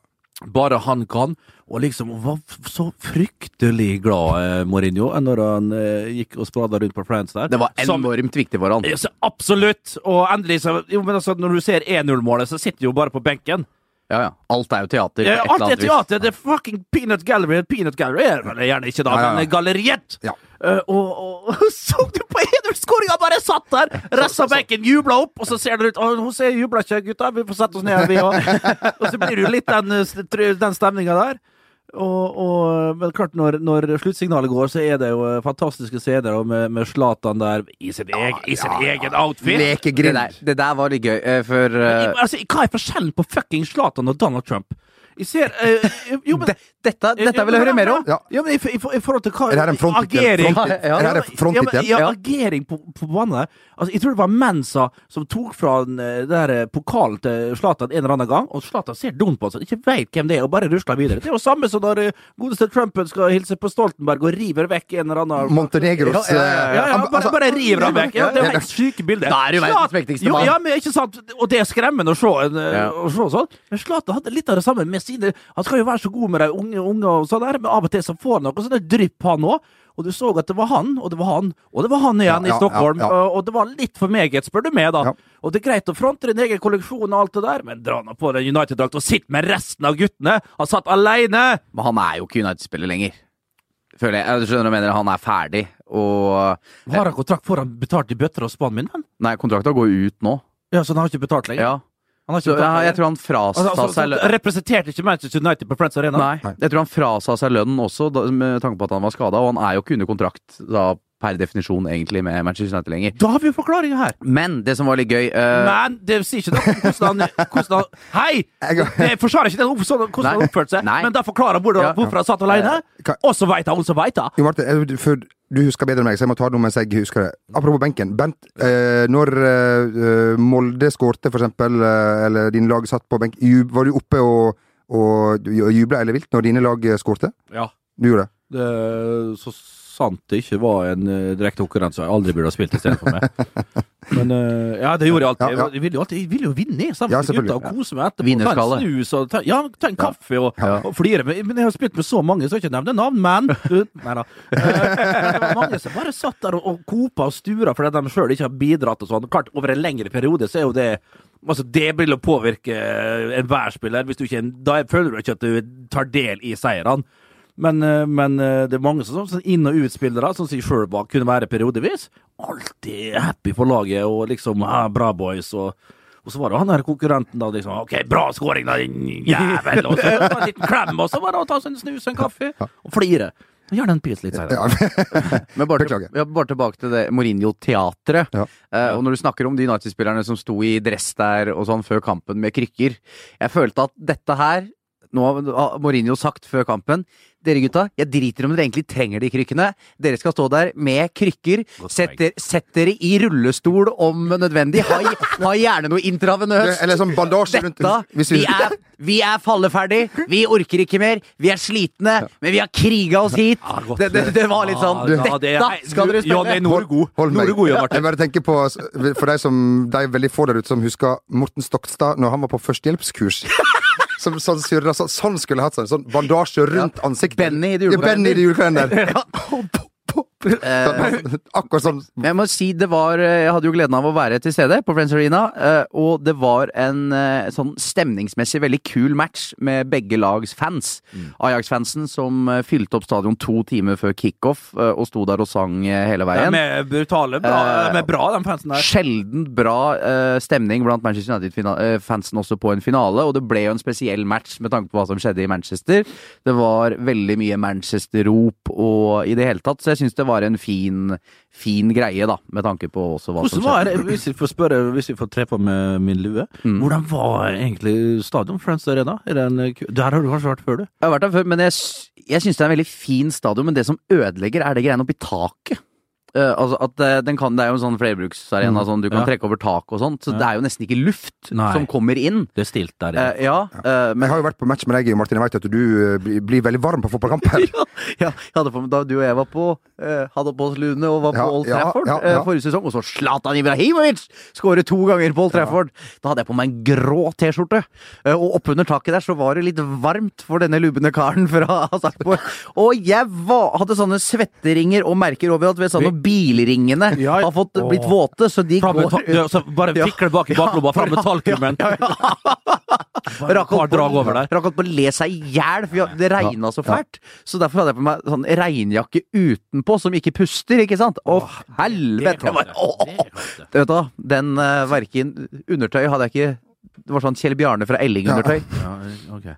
[SPEAKER 3] bare han kan. Og liksom hun var f- så fryktelig glad, eh, Mourinho, eh, når han eh, gikk og sprada rundt på France der.
[SPEAKER 4] Det var
[SPEAKER 3] Som-
[SPEAKER 4] enormt viktig for han.
[SPEAKER 3] Ja, så absolutt! Og endelig, så jo, men altså, når du ser 1-0-målet, så sitter du jo bare på benken.
[SPEAKER 4] Ja, ja. Alt er jo teater.
[SPEAKER 3] Ja,
[SPEAKER 4] på et
[SPEAKER 3] alt er
[SPEAKER 4] eller annet vis.
[SPEAKER 3] Eh, teater! Det er fucking Peanut Gallery. Peanut Gallery er vel gjerne ikke da,
[SPEAKER 2] Ja, ja, ja.
[SPEAKER 3] men galleriet!
[SPEAKER 2] Ja.
[SPEAKER 3] Eh, og, og så du på 1-0-skåringa! Bare satt der! Resten av benken jubla opp, og så ser det ut «Å, Hun ser jubla ikke, gutta. Vi får sette oss ned, her, vi òg. Og så blir det jo litt den, eh, st- tr- den stemninga der. Og, og men klart, når, når sluttsignalet går, så er det jo eh, fantastiske scener og med, med Zlatan der i sin, egen, i sin egen outfit.
[SPEAKER 4] Det der, det der var litt gøy, eh, for eh,
[SPEAKER 3] Men, altså, hva er forskjellen på fucking Zlatan og Donald Trump? Jeg ser eh, Jo, men
[SPEAKER 4] de, dette, dette vil jeg høre mer om.
[SPEAKER 2] Ja.
[SPEAKER 3] Ja, men i, for- i, for- i forhold til hva
[SPEAKER 2] Er det her en fronthit igjen?
[SPEAKER 3] Agering
[SPEAKER 2] Fronthit- er det her en
[SPEAKER 3] ja,
[SPEAKER 2] fronthit
[SPEAKER 3] men-
[SPEAKER 2] igjen?
[SPEAKER 3] ja,
[SPEAKER 4] Ja.
[SPEAKER 3] agering på, på banen der. Altså, jeg tror det var Mensa som tok fra den eh, der eh, pokalen til Zlatan en eller annen gang, og Zlatan ser dum på han, så ikke veit hvem det er, og bare rusler videre. Det er jo samme som når eh, godeste Trumpen skal hilse på Stoltenberg og river vekk en eller annen
[SPEAKER 2] Montenegros
[SPEAKER 4] Ja, ja, ja, ja.
[SPEAKER 2] eh,
[SPEAKER 3] ja, ja,
[SPEAKER 2] han-
[SPEAKER 3] bare,
[SPEAKER 2] altså-
[SPEAKER 3] bare river han vekk. Ja, det er jo
[SPEAKER 2] Ja.
[SPEAKER 3] helt syke bilder.
[SPEAKER 4] Da er det jo verdens
[SPEAKER 3] Zlatan-
[SPEAKER 4] mektigste
[SPEAKER 3] jo,
[SPEAKER 4] mann.
[SPEAKER 3] Ja, men ikke sant? Og det er skremmende å se, en,
[SPEAKER 4] Ja.
[SPEAKER 3] å se sånn. Men Zlatan hadde litt av det samme med sine Han skal jo være så god med de unge, unge og sånn der, men av og til så får han noe sånne drypp, han òg. Og du så at det var han, og det var han, og det var han igjen
[SPEAKER 2] Ja, ja,
[SPEAKER 3] i Stockholm.
[SPEAKER 2] ja, ja.
[SPEAKER 3] Og- Og det var litt for meget, spør du meg, da.
[SPEAKER 2] Ja.
[SPEAKER 3] Og det er greit å fronte din egen kolleksjon og alt det der, men dra nå på den United-drakt og sitt med resten av guttene! Han satt aleine!
[SPEAKER 4] Men han er jo ikke United-spiller lenger. Føler jeg. jeg skjønner hva jeg mener, han er ferdig, og
[SPEAKER 3] Har han kontrakt foran betalt i bøtter og spann, min venn?
[SPEAKER 4] Nei, kontrakta går ut nå.
[SPEAKER 3] Ja, så han har ikke betalt lenger?
[SPEAKER 4] Ja.
[SPEAKER 3] Han har ikke
[SPEAKER 4] Så,
[SPEAKER 3] betalt
[SPEAKER 4] ja,
[SPEAKER 3] lenger.
[SPEAKER 4] jeg tror han frasta
[SPEAKER 3] Altså, altså,
[SPEAKER 4] seg lø-
[SPEAKER 3] altså, representerte ikke Manchester United på Friends Arena?
[SPEAKER 4] Nei, jeg tror han frasa seg lønnen også, da, med tanke på at han var skada, og han er jo ikke under kontrakt da, per definisjon egentlig med Manchester United lenger.
[SPEAKER 3] Da har vi jo forklaringa her!
[SPEAKER 4] Men det som var litt gøy eh,
[SPEAKER 3] Men det sier ikke noe om hvordan han, hvordan han Hei!
[SPEAKER 2] Jeg-
[SPEAKER 3] Det forsvarer ikke den opp- sånn- hvordan han
[SPEAKER 4] Nei.
[SPEAKER 3] oppførte seg,
[SPEAKER 4] Nei.
[SPEAKER 3] men det forklarer hvordan,
[SPEAKER 4] Ja. Eh,
[SPEAKER 3] hvorfor han satt alene.
[SPEAKER 2] Ka-
[SPEAKER 3] Og så veit han, og så veit han.
[SPEAKER 2] Jo, Martin, eh, for du husker bedre enn meg, så jeg må ta det nå mens jeg husker det. Apropos benken. Bent, eh, når eh, eh, Molde skårte, for eksempel, eh, eller dine lag satt på benk, ju- var du oppe og, og jubla eller vilt når dine lag eh, skårte?
[SPEAKER 3] Ja.
[SPEAKER 2] Du gjorde det?
[SPEAKER 3] eh, så sant det ikke var en direkte konkurranse jeg aldri burde ha spilt istedenfor meg. Men eh, ja, det gjorde jeg alltid.
[SPEAKER 2] Ja, ja.
[SPEAKER 3] Jeg ville jo, alltid, jeg ville jo vinne sammen
[SPEAKER 2] Ja,
[SPEAKER 3] med
[SPEAKER 2] selvfølgelig,
[SPEAKER 3] gutta og
[SPEAKER 2] ja.
[SPEAKER 3] kose meg etterpå. Ta
[SPEAKER 4] Vinnerskalle.
[SPEAKER 3] en snus og ta, ja, ta en kaffe og, og flire. Men, men jeg har spilt med så mange, så jeg skal ikke nevne navn, men du, Nei da. Eh, det var mange som bare satt der og, og kopa og stura fordi de sjøl ikke har bidratt og sånn. Klart, over en lengre periode så er jo det Altså, det vil jo påvirke eh, enhver spiller. Hvis du ikke, da føler du ikke at du tar del i seirene. Men, eh, men eh, det er mange som sånn inn- og utspillere som sier Sherbach kunne være periodevis. Alltid happy for laget og liksom ah, bra boys. og og så var det han her konkurrenten da liksom OK, bra scoring, da, din jævel! Og så en liten klem, og så var det å ta seg en snus og en kaffe og flire. Gjerne en pils litt senere.
[SPEAKER 4] Men bare, til,
[SPEAKER 2] Beklager.
[SPEAKER 4] ja, bare tilbake til det Mourinho-teatret.
[SPEAKER 2] Ja.
[SPEAKER 4] Eh, og når du snakker om de United-spillerne som sto i dress der og sånn før kampen med krykker Jeg følte at dette her Nå har Mourinho sagt før kampen Dere gutta, jeg driter om dere egentlig trenger de krykkene. Dere skal stå der med krykker.
[SPEAKER 3] Godt
[SPEAKER 4] Sett
[SPEAKER 3] poeng.
[SPEAKER 4] dere, sett dere i rullestol om nødvendig. Ha, ha gjerne noe intravenøst.
[SPEAKER 2] Eller sånn bandasje rundt
[SPEAKER 4] Dette,
[SPEAKER 2] hvis
[SPEAKER 4] vi er, vi er falleferdig, vi orker ikke mer, vi er slitne, men vi har kriga oss hit.
[SPEAKER 3] Ah, godt. Ah,
[SPEAKER 4] Det, det, det var litt sånn
[SPEAKER 3] Ja, ja, det er-
[SPEAKER 4] Dette skal dere
[SPEAKER 3] Ja, det
[SPEAKER 4] spille!
[SPEAKER 3] er Norgod.
[SPEAKER 2] Hold meg.
[SPEAKER 3] Norgod, ja, Martin.
[SPEAKER 2] Jeg bare tenker på, for de som De er veldig få der ute som husker Morten Stokstad når han var på førstehjelpskurs. Som sånn surra sånn. Sånn skulle jeg hatt seg. Sånn bandasje rundt ansiktet.
[SPEAKER 4] Benny i det
[SPEAKER 2] Ja, Benny i det julekalender.
[SPEAKER 4] Ja.
[SPEAKER 2] Sånn, Akkurat sånn.
[SPEAKER 4] Men jeg må si det var eh, Jeg hadde jo gleden av å være til stede på Friends Arena, eh, og det var en eh, sånn stemningsmessig veldig kul match med begge lags fans.
[SPEAKER 3] Mm.
[SPEAKER 4] Ajax-fansen som eh, fylte opp stadion to timer før kickoff eh, og sto der og sang eh, hele
[SPEAKER 3] De
[SPEAKER 4] veien.
[SPEAKER 3] er brutale. Bra,
[SPEAKER 4] Eh,
[SPEAKER 3] de er bra, de fansen der.
[SPEAKER 4] Sjelden bra eh, stemning blant Manchester United-fansen også på en finale, og det ble jo en spesiell match med tanke på hva som skjedde i Manchester. Det var veldig mye Manchester-rop og i det hele tatt, så jeg syns det var en fin, fin greie, da, med tanke på også hva som
[SPEAKER 3] Hvordan var
[SPEAKER 4] skjedde.
[SPEAKER 3] det, hvis vi får spørre, hvis vi får tre på med min lue, hvordan var egentlig stadion Friends Arena? Er det en, ku- der har du kanskje vært før, du?
[SPEAKER 4] Jeg har vært der før, men jeg, s- jeg syns det er en veldig fin stadion, men det som ødelegger, er det greiene oppi taket. Eh, altså at eh, den kan, Det er jo en sånn flerbruksarena, sånn, du
[SPEAKER 3] Mm.
[SPEAKER 4] kan
[SPEAKER 3] Ja.
[SPEAKER 4] trekke over taket og sånt, så det er jo nesten ikke luft
[SPEAKER 3] Nei.
[SPEAKER 4] som kommer inn.
[SPEAKER 3] Det er stilt der,
[SPEAKER 4] Eh, ja, eh,
[SPEAKER 2] Jeg
[SPEAKER 4] men
[SPEAKER 2] har jo vært på match med deg, Martin. Jeg vet at du eh, blir- blir veldig varm på fotballkamper.
[SPEAKER 4] ja, ja, jeg hadde på, meg- da du og jeg var på eh, hadde på oss Lune og var på
[SPEAKER 2] Ja,
[SPEAKER 4] Old
[SPEAKER 2] ja,
[SPEAKER 4] Trafford
[SPEAKER 2] ja,
[SPEAKER 4] eh,
[SPEAKER 2] ja.
[SPEAKER 4] forrige sesong, og så Zlatan Ibrahimovic skårer to ganger på Old Trafford! Da hadde jeg på meg en grå T-skjorte, eh, og oppunder taket der så var det litt varmt for denne lubne karen fra Sarpsborg. Og jeg var, hadde sånne svetteringer og merker overalt, ved sånn at bilringene
[SPEAKER 3] Ja,
[SPEAKER 4] har fått
[SPEAKER 3] åh.
[SPEAKER 4] blitt våte, så de
[SPEAKER 3] Fram
[SPEAKER 4] går
[SPEAKER 3] med ta- ja, så bare
[SPEAKER 4] Ja.
[SPEAKER 3] fikle bak i baklomma, fram med tallkrimmen.
[SPEAKER 4] Rakk
[SPEAKER 3] Par
[SPEAKER 4] holdt på,
[SPEAKER 3] drag over der.
[SPEAKER 4] rakk holdt på å le seg i hjel, for jeg- det regna så fælt. Så derfor hadde jeg på meg sånn regnjakke utenpå som ikke puster, ikke sant? Å, helvete! Det var, å, å, å. Vet du hva, den uh, verken undertøy hadde jeg ikke Det var sånn Kjell Bjarne fra Elling-undertøy.
[SPEAKER 3] Ja, ok.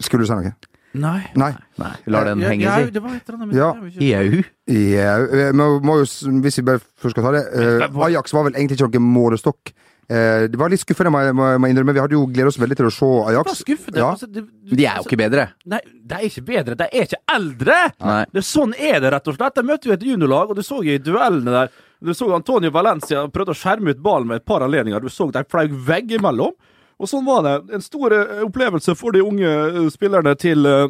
[SPEAKER 2] Skulle du si noe?
[SPEAKER 3] Nei.
[SPEAKER 2] Nei.
[SPEAKER 4] Nei, lar den
[SPEAKER 3] Ja,
[SPEAKER 4] henge,
[SPEAKER 3] ja,
[SPEAKER 4] si.
[SPEAKER 3] det var et eller annet, men
[SPEAKER 2] Ja.
[SPEAKER 3] det er jo ikke-
[SPEAKER 4] Jau.
[SPEAKER 2] Ja, eh, men må jo, s- hvis vi bare først skal ta det eh, Ajax var vel egentlig ikke noen målestokk. Eh, det var litt skuffende, må jeg- må jeg må jeg innrømme. Vi hadde jo gledet oss veldig til å se
[SPEAKER 3] Bare
[SPEAKER 2] Ajax.
[SPEAKER 3] skuffet.
[SPEAKER 2] Ja.
[SPEAKER 3] Altså, det- du-
[SPEAKER 4] De er jo ikke bedre.
[SPEAKER 3] Nei, de er ikke bedre. De er ikke eldre!
[SPEAKER 4] Nei.
[SPEAKER 3] Det, sånn er det, rett og slett. De møtte jo et juniorlag, og du så i duellene der Du så Antonio Valencia prøvde å skjerme ut ballen med et par anledninger. Du så de flaug vegg imellom. Og sånn var det. En stor eh, opplevelse for de unge eh, spillerne til eh,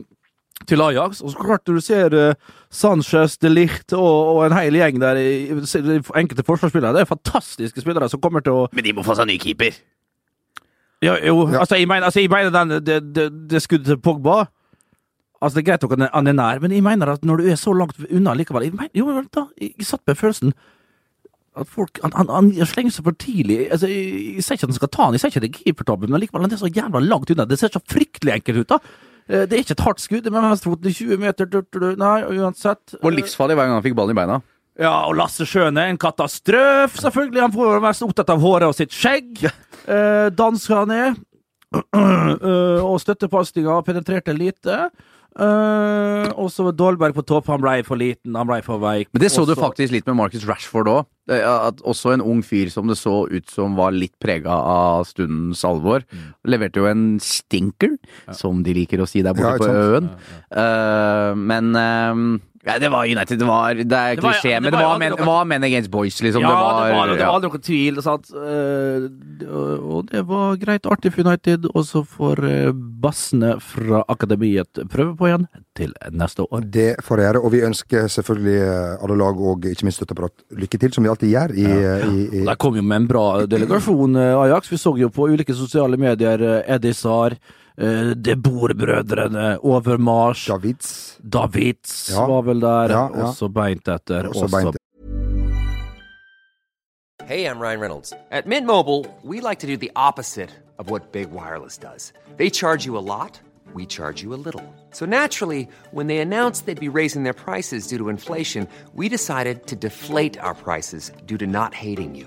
[SPEAKER 3] til Ajax, og så klart når du ser eh, Sanchez, De Ligt og, og en hel gjeng der, i- i- se- de enkelte forsvarsspillere, det er fantastiske spillere som kommer til å
[SPEAKER 4] Men de må få seg ny keeper.
[SPEAKER 3] ja, jo, altså jeg mener, altså, jeg mener den, det, det, det skuddet til Pogba Altså Det er greit nok at han er nær, men jeg mener at når du er så langt unna likevel jeg mener, Jo, men vent da, jeg, jeg satt med følelsen at folk Han, han, han slenger seg for tidlig. Altså, jeg, jeg sier ikke at han skal ta han, jeg sier ikke at det er keepertabben, men likevel, han er så jævla langt unna. Det ser så fryktelig enkelt ut, da. Eh, Det er ikke et hardt skudd, det er med venstrefoten i 20 meter, du, du, du, nei, uansett. eh,
[SPEAKER 4] Og livsfarlig hver gang han fikk ballen i beina.
[SPEAKER 3] Ja, og Lasse Schøne, en katastrof, selvfølgelig. Han får være mest opptatt av håret og sitt skjegg. Eh, dansk han er. Eh, og støttepasninga penetrerte lite. Eh, og så var Dolberg på topp. Han blei for liten, han blei for veik.
[SPEAKER 4] Men det så du
[SPEAKER 3] Også-
[SPEAKER 4] faktisk litt med Marcus Rashford òg. At også en ung fyr som det så ut som var litt prega av stundens alvor,
[SPEAKER 2] Mm.
[SPEAKER 4] leverte jo en stinker, som de liker å si der borte
[SPEAKER 2] Ja, ikke
[SPEAKER 4] på
[SPEAKER 2] sant?
[SPEAKER 4] øen. Eh, men eh, ja, det var United. Det var Det er
[SPEAKER 3] Det var-
[SPEAKER 4] klisjé,
[SPEAKER 3] det
[SPEAKER 4] men det
[SPEAKER 3] var jo
[SPEAKER 4] var,
[SPEAKER 3] aldri
[SPEAKER 4] men, det
[SPEAKER 3] noe-
[SPEAKER 4] var men against boys,
[SPEAKER 3] ja,
[SPEAKER 4] liksom. det var,
[SPEAKER 3] det var, det
[SPEAKER 4] ja.
[SPEAKER 3] var aldri noen tvil. Sant? Eh, og- og det var greit artig for United. Og så får eh, bassene fra akademiet prøve på igjen til neste år.
[SPEAKER 2] Det får jeg gjøre, og vi ønsker selvfølgelig eh, alle lag og ikke minst støtteapparat lykke til, som vi alltid til Gjær i, i, i
[SPEAKER 3] Der kom jo med en bra delegasjon, eh, Ajax. Vi så jo på ulike sosiale medier eh, Eddie Saar, eh, De Boer-brødrene, Overmars,
[SPEAKER 2] Davids.
[SPEAKER 3] Davids
[SPEAKER 2] Ja.
[SPEAKER 3] var vel der,
[SPEAKER 2] Ja, ja.
[SPEAKER 3] også beint etter.
[SPEAKER 2] Også beint
[SPEAKER 5] Hey, I'm Ryan Reynolds. At Mint Mobile, we like to do the opposite of what Big Wireless does. They charge you a lot, we charge you a little. So naturally, when they announced they'd be raising their prices due to inflation, we decided to deflate our prices due to not hating you.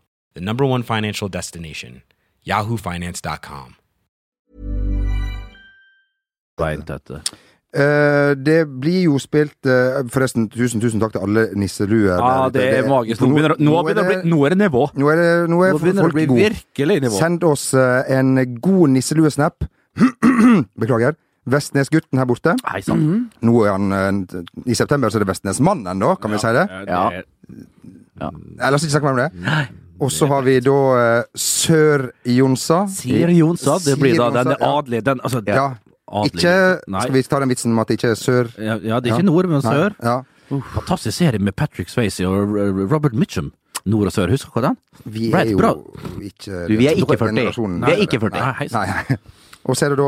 [SPEAKER 6] the number one financial destination, yahoofinance.com.
[SPEAKER 3] Beint etter.
[SPEAKER 2] Eh, det blir jo spilt eh, Forresten, tusen, tusen takk til alle nisseluer.
[SPEAKER 3] Ja,
[SPEAKER 2] der ute.
[SPEAKER 3] det er magisk. Nå begynner nå begynner det å bli- nå er det nivå.
[SPEAKER 2] Nå er, det, nå er
[SPEAKER 3] Nå begynner det å
[SPEAKER 2] folk
[SPEAKER 3] bli
[SPEAKER 2] gode.
[SPEAKER 3] virkelig nivå.
[SPEAKER 2] Send oss eh, en god nisseluesnap. Beklager. Vestnesgutten her borte.
[SPEAKER 3] Hei sann.
[SPEAKER 2] Nå er han eh, I september så er det Vestnesmannen, da, kan vi si det?
[SPEAKER 4] Ja.
[SPEAKER 3] det er-
[SPEAKER 2] Nei, La oss ikke snakke mer om det. Og så har vi da eh, Sør-Jonsa.
[SPEAKER 3] Sier Jonsa, det blir da den
[SPEAKER 2] Sir Jonsa, ja.
[SPEAKER 3] adelige den, altså,
[SPEAKER 2] Ja.
[SPEAKER 3] adelige.
[SPEAKER 2] Ikke
[SPEAKER 3] Nei.
[SPEAKER 2] Skal vi ta den vitsen om at det ikke er sør?
[SPEAKER 3] Ja, ja, det er ikke nord, men
[SPEAKER 2] Nei.
[SPEAKER 3] sør.
[SPEAKER 2] Ja.
[SPEAKER 3] Fantastisk serie med Patrick Swayze og eh, Robert Mitchum. Nord og sør, husker du den?
[SPEAKER 2] Vi
[SPEAKER 3] Brad
[SPEAKER 2] er jo
[SPEAKER 3] Bra.
[SPEAKER 2] ikke
[SPEAKER 4] Du, vi
[SPEAKER 2] dere
[SPEAKER 4] er ikke 40.
[SPEAKER 2] generasjonen.
[SPEAKER 4] Vi er ikke 40.
[SPEAKER 3] Nei, hei sann.
[SPEAKER 2] Nei. Og så er det da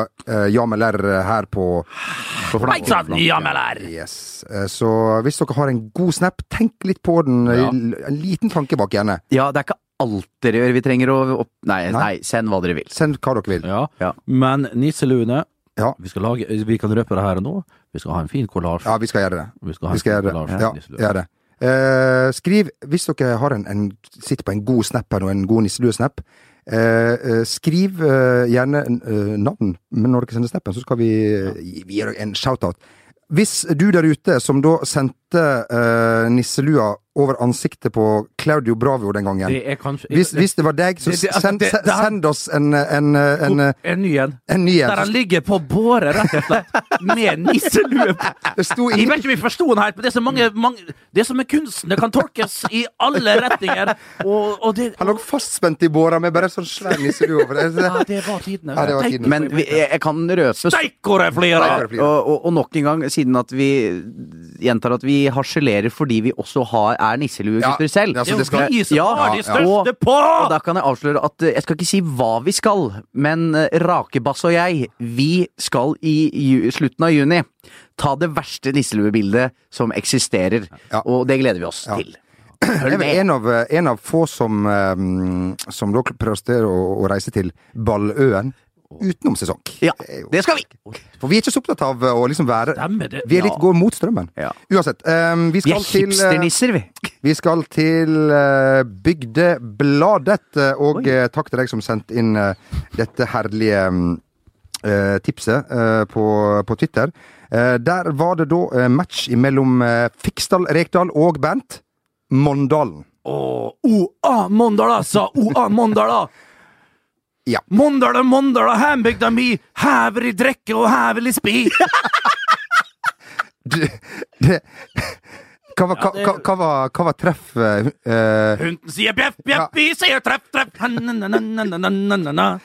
[SPEAKER 2] uh, Jamel R her på på
[SPEAKER 3] Hei sann,
[SPEAKER 2] flanken.
[SPEAKER 3] Jamel R!
[SPEAKER 2] Yes. Eh, så hvis dere har en god snap, tenk litt på den.
[SPEAKER 4] Ja.
[SPEAKER 2] l- En liten tanke bak hjernen.
[SPEAKER 4] Ja, det er ikke alt dere gjør vi trenger å opp... Nei,
[SPEAKER 2] Nei.
[SPEAKER 4] nei. send hva dere vil.
[SPEAKER 2] Send hva dere vil.
[SPEAKER 3] Ja.
[SPEAKER 4] Ja.
[SPEAKER 3] Men nisselune
[SPEAKER 2] Ja.
[SPEAKER 3] vi, skal lage, vi kan røpe det her og nå. Vi skal ha en fin kollasj.
[SPEAKER 2] Ja, vi skal gjøre det.
[SPEAKER 3] Vi skal ha
[SPEAKER 2] Vi skal
[SPEAKER 3] en
[SPEAKER 2] gjøre
[SPEAKER 3] kollasj.
[SPEAKER 2] det. Ja,
[SPEAKER 3] Nisselue.
[SPEAKER 2] gjør det. Eh, skriv hvis dere har en, en, sitter på en god snap her nå, en god nisselue-snap. eh, eh, skriv eh, gjerne eh, navn men når dere sender snappen, så skal vi eh, gi vi gir dere en shout-out. Hvis du der ute som da sendte eh, nisselua over ansiktet på Claudio Bravio den gangen
[SPEAKER 3] Det er kanskje
[SPEAKER 2] hvis, hvis det var deg, så
[SPEAKER 3] Det- det- altså,
[SPEAKER 2] send,
[SPEAKER 3] det- det-
[SPEAKER 2] send oss en, en, en, en,
[SPEAKER 3] en ny en.
[SPEAKER 2] eh, en ny
[SPEAKER 3] Der han
[SPEAKER 2] en.
[SPEAKER 3] ligger på båre, rett og slett, med nisselue på.
[SPEAKER 2] Det sto
[SPEAKER 3] Jeg
[SPEAKER 2] ingen
[SPEAKER 3] vet ikke om jeg forsto den helt, men det er så mange, mange Det som er kunsten, det kan tolkes i alle retninger, og, og det
[SPEAKER 2] Han lå fastspent i båra med bare sånn svær nisselue over.
[SPEAKER 3] Ja, det var tidene.
[SPEAKER 2] Ja, det var tidene.
[SPEAKER 4] Men vi, jeg, jeg kan røpe
[SPEAKER 3] Steikore
[SPEAKER 2] Steikor
[SPEAKER 3] flere!
[SPEAKER 2] er flere.
[SPEAKER 4] og, og, og nok en gang, siden at vi gjentar at vi harselerer fordi vi også har, er nisseluegutter
[SPEAKER 2] Ja,
[SPEAKER 4] selv.
[SPEAKER 2] ja, så
[SPEAKER 3] Det
[SPEAKER 2] det skal-
[SPEAKER 3] er jo vi som
[SPEAKER 4] Ja,
[SPEAKER 3] har
[SPEAKER 4] ja.
[SPEAKER 3] de største på!
[SPEAKER 4] Og da kan jeg avsløre at eh, jeg skal ikke si hva vi skal, men eh, Rakebass og jeg, vi skal i ju slutten av juni ta det verste nisseluebildet som eksisterer,
[SPEAKER 2] Ja.
[SPEAKER 4] og det gleder vi oss
[SPEAKER 2] Ja.
[SPEAKER 4] til.
[SPEAKER 2] Jeg er
[SPEAKER 4] Følg
[SPEAKER 2] vel
[SPEAKER 4] med.
[SPEAKER 2] en av, en av få som, eh, som da prøver å, å reise til Balløen utenom sesong.
[SPEAKER 4] Ja,
[SPEAKER 2] er jo-
[SPEAKER 4] det skal vi!
[SPEAKER 2] For vi er ikke så opptatt av å liksom være
[SPEAKER 3] Stemmer det.
[SPEAKER 2] Vi er litt
[SPEAKER 3] Ja.
[SPEAKER 2] går mot strømmen.
[SPEAKER 4] Ja.
[SPEAKER 2] Uansett. eh, vi
[SPEAKER 4] Vi
[SPEAKER 2] skal
[SPEAKER 4] er
[SPEAKER 2] til eh,
[SPEAKER 4] hipsternisser, vi.
[SPEAKER 2] Vi skal til eh, Bygdebladet, eh, og eh, takk til deg som sendte inn eh, dette herlige mm, eh, tipset eh, på, på Twitter. Eh, der var det da eh, match mellom eh, Fiksdal Rekdal og Bernt Mondalen.
[SPEAKER 3] Åh, OA Mondala, sa OA Mondala!
[SPEAKER 2] Ja.
[SPEAKER 3] Mondala, Mondala, heimbygda mi, hever i drekke og hever i spi!
[SPEAKER 2] Det, det, hva, var- hva, hva, hva, var, hva var treff eh, eh,
[SPEAKER 3] Hunden sier bjeff,
[SPEAKER 2] Ja.
[SPEAKER 3] bjeff, vi sier treff, treff! na-na-na-na-na-na-na-na.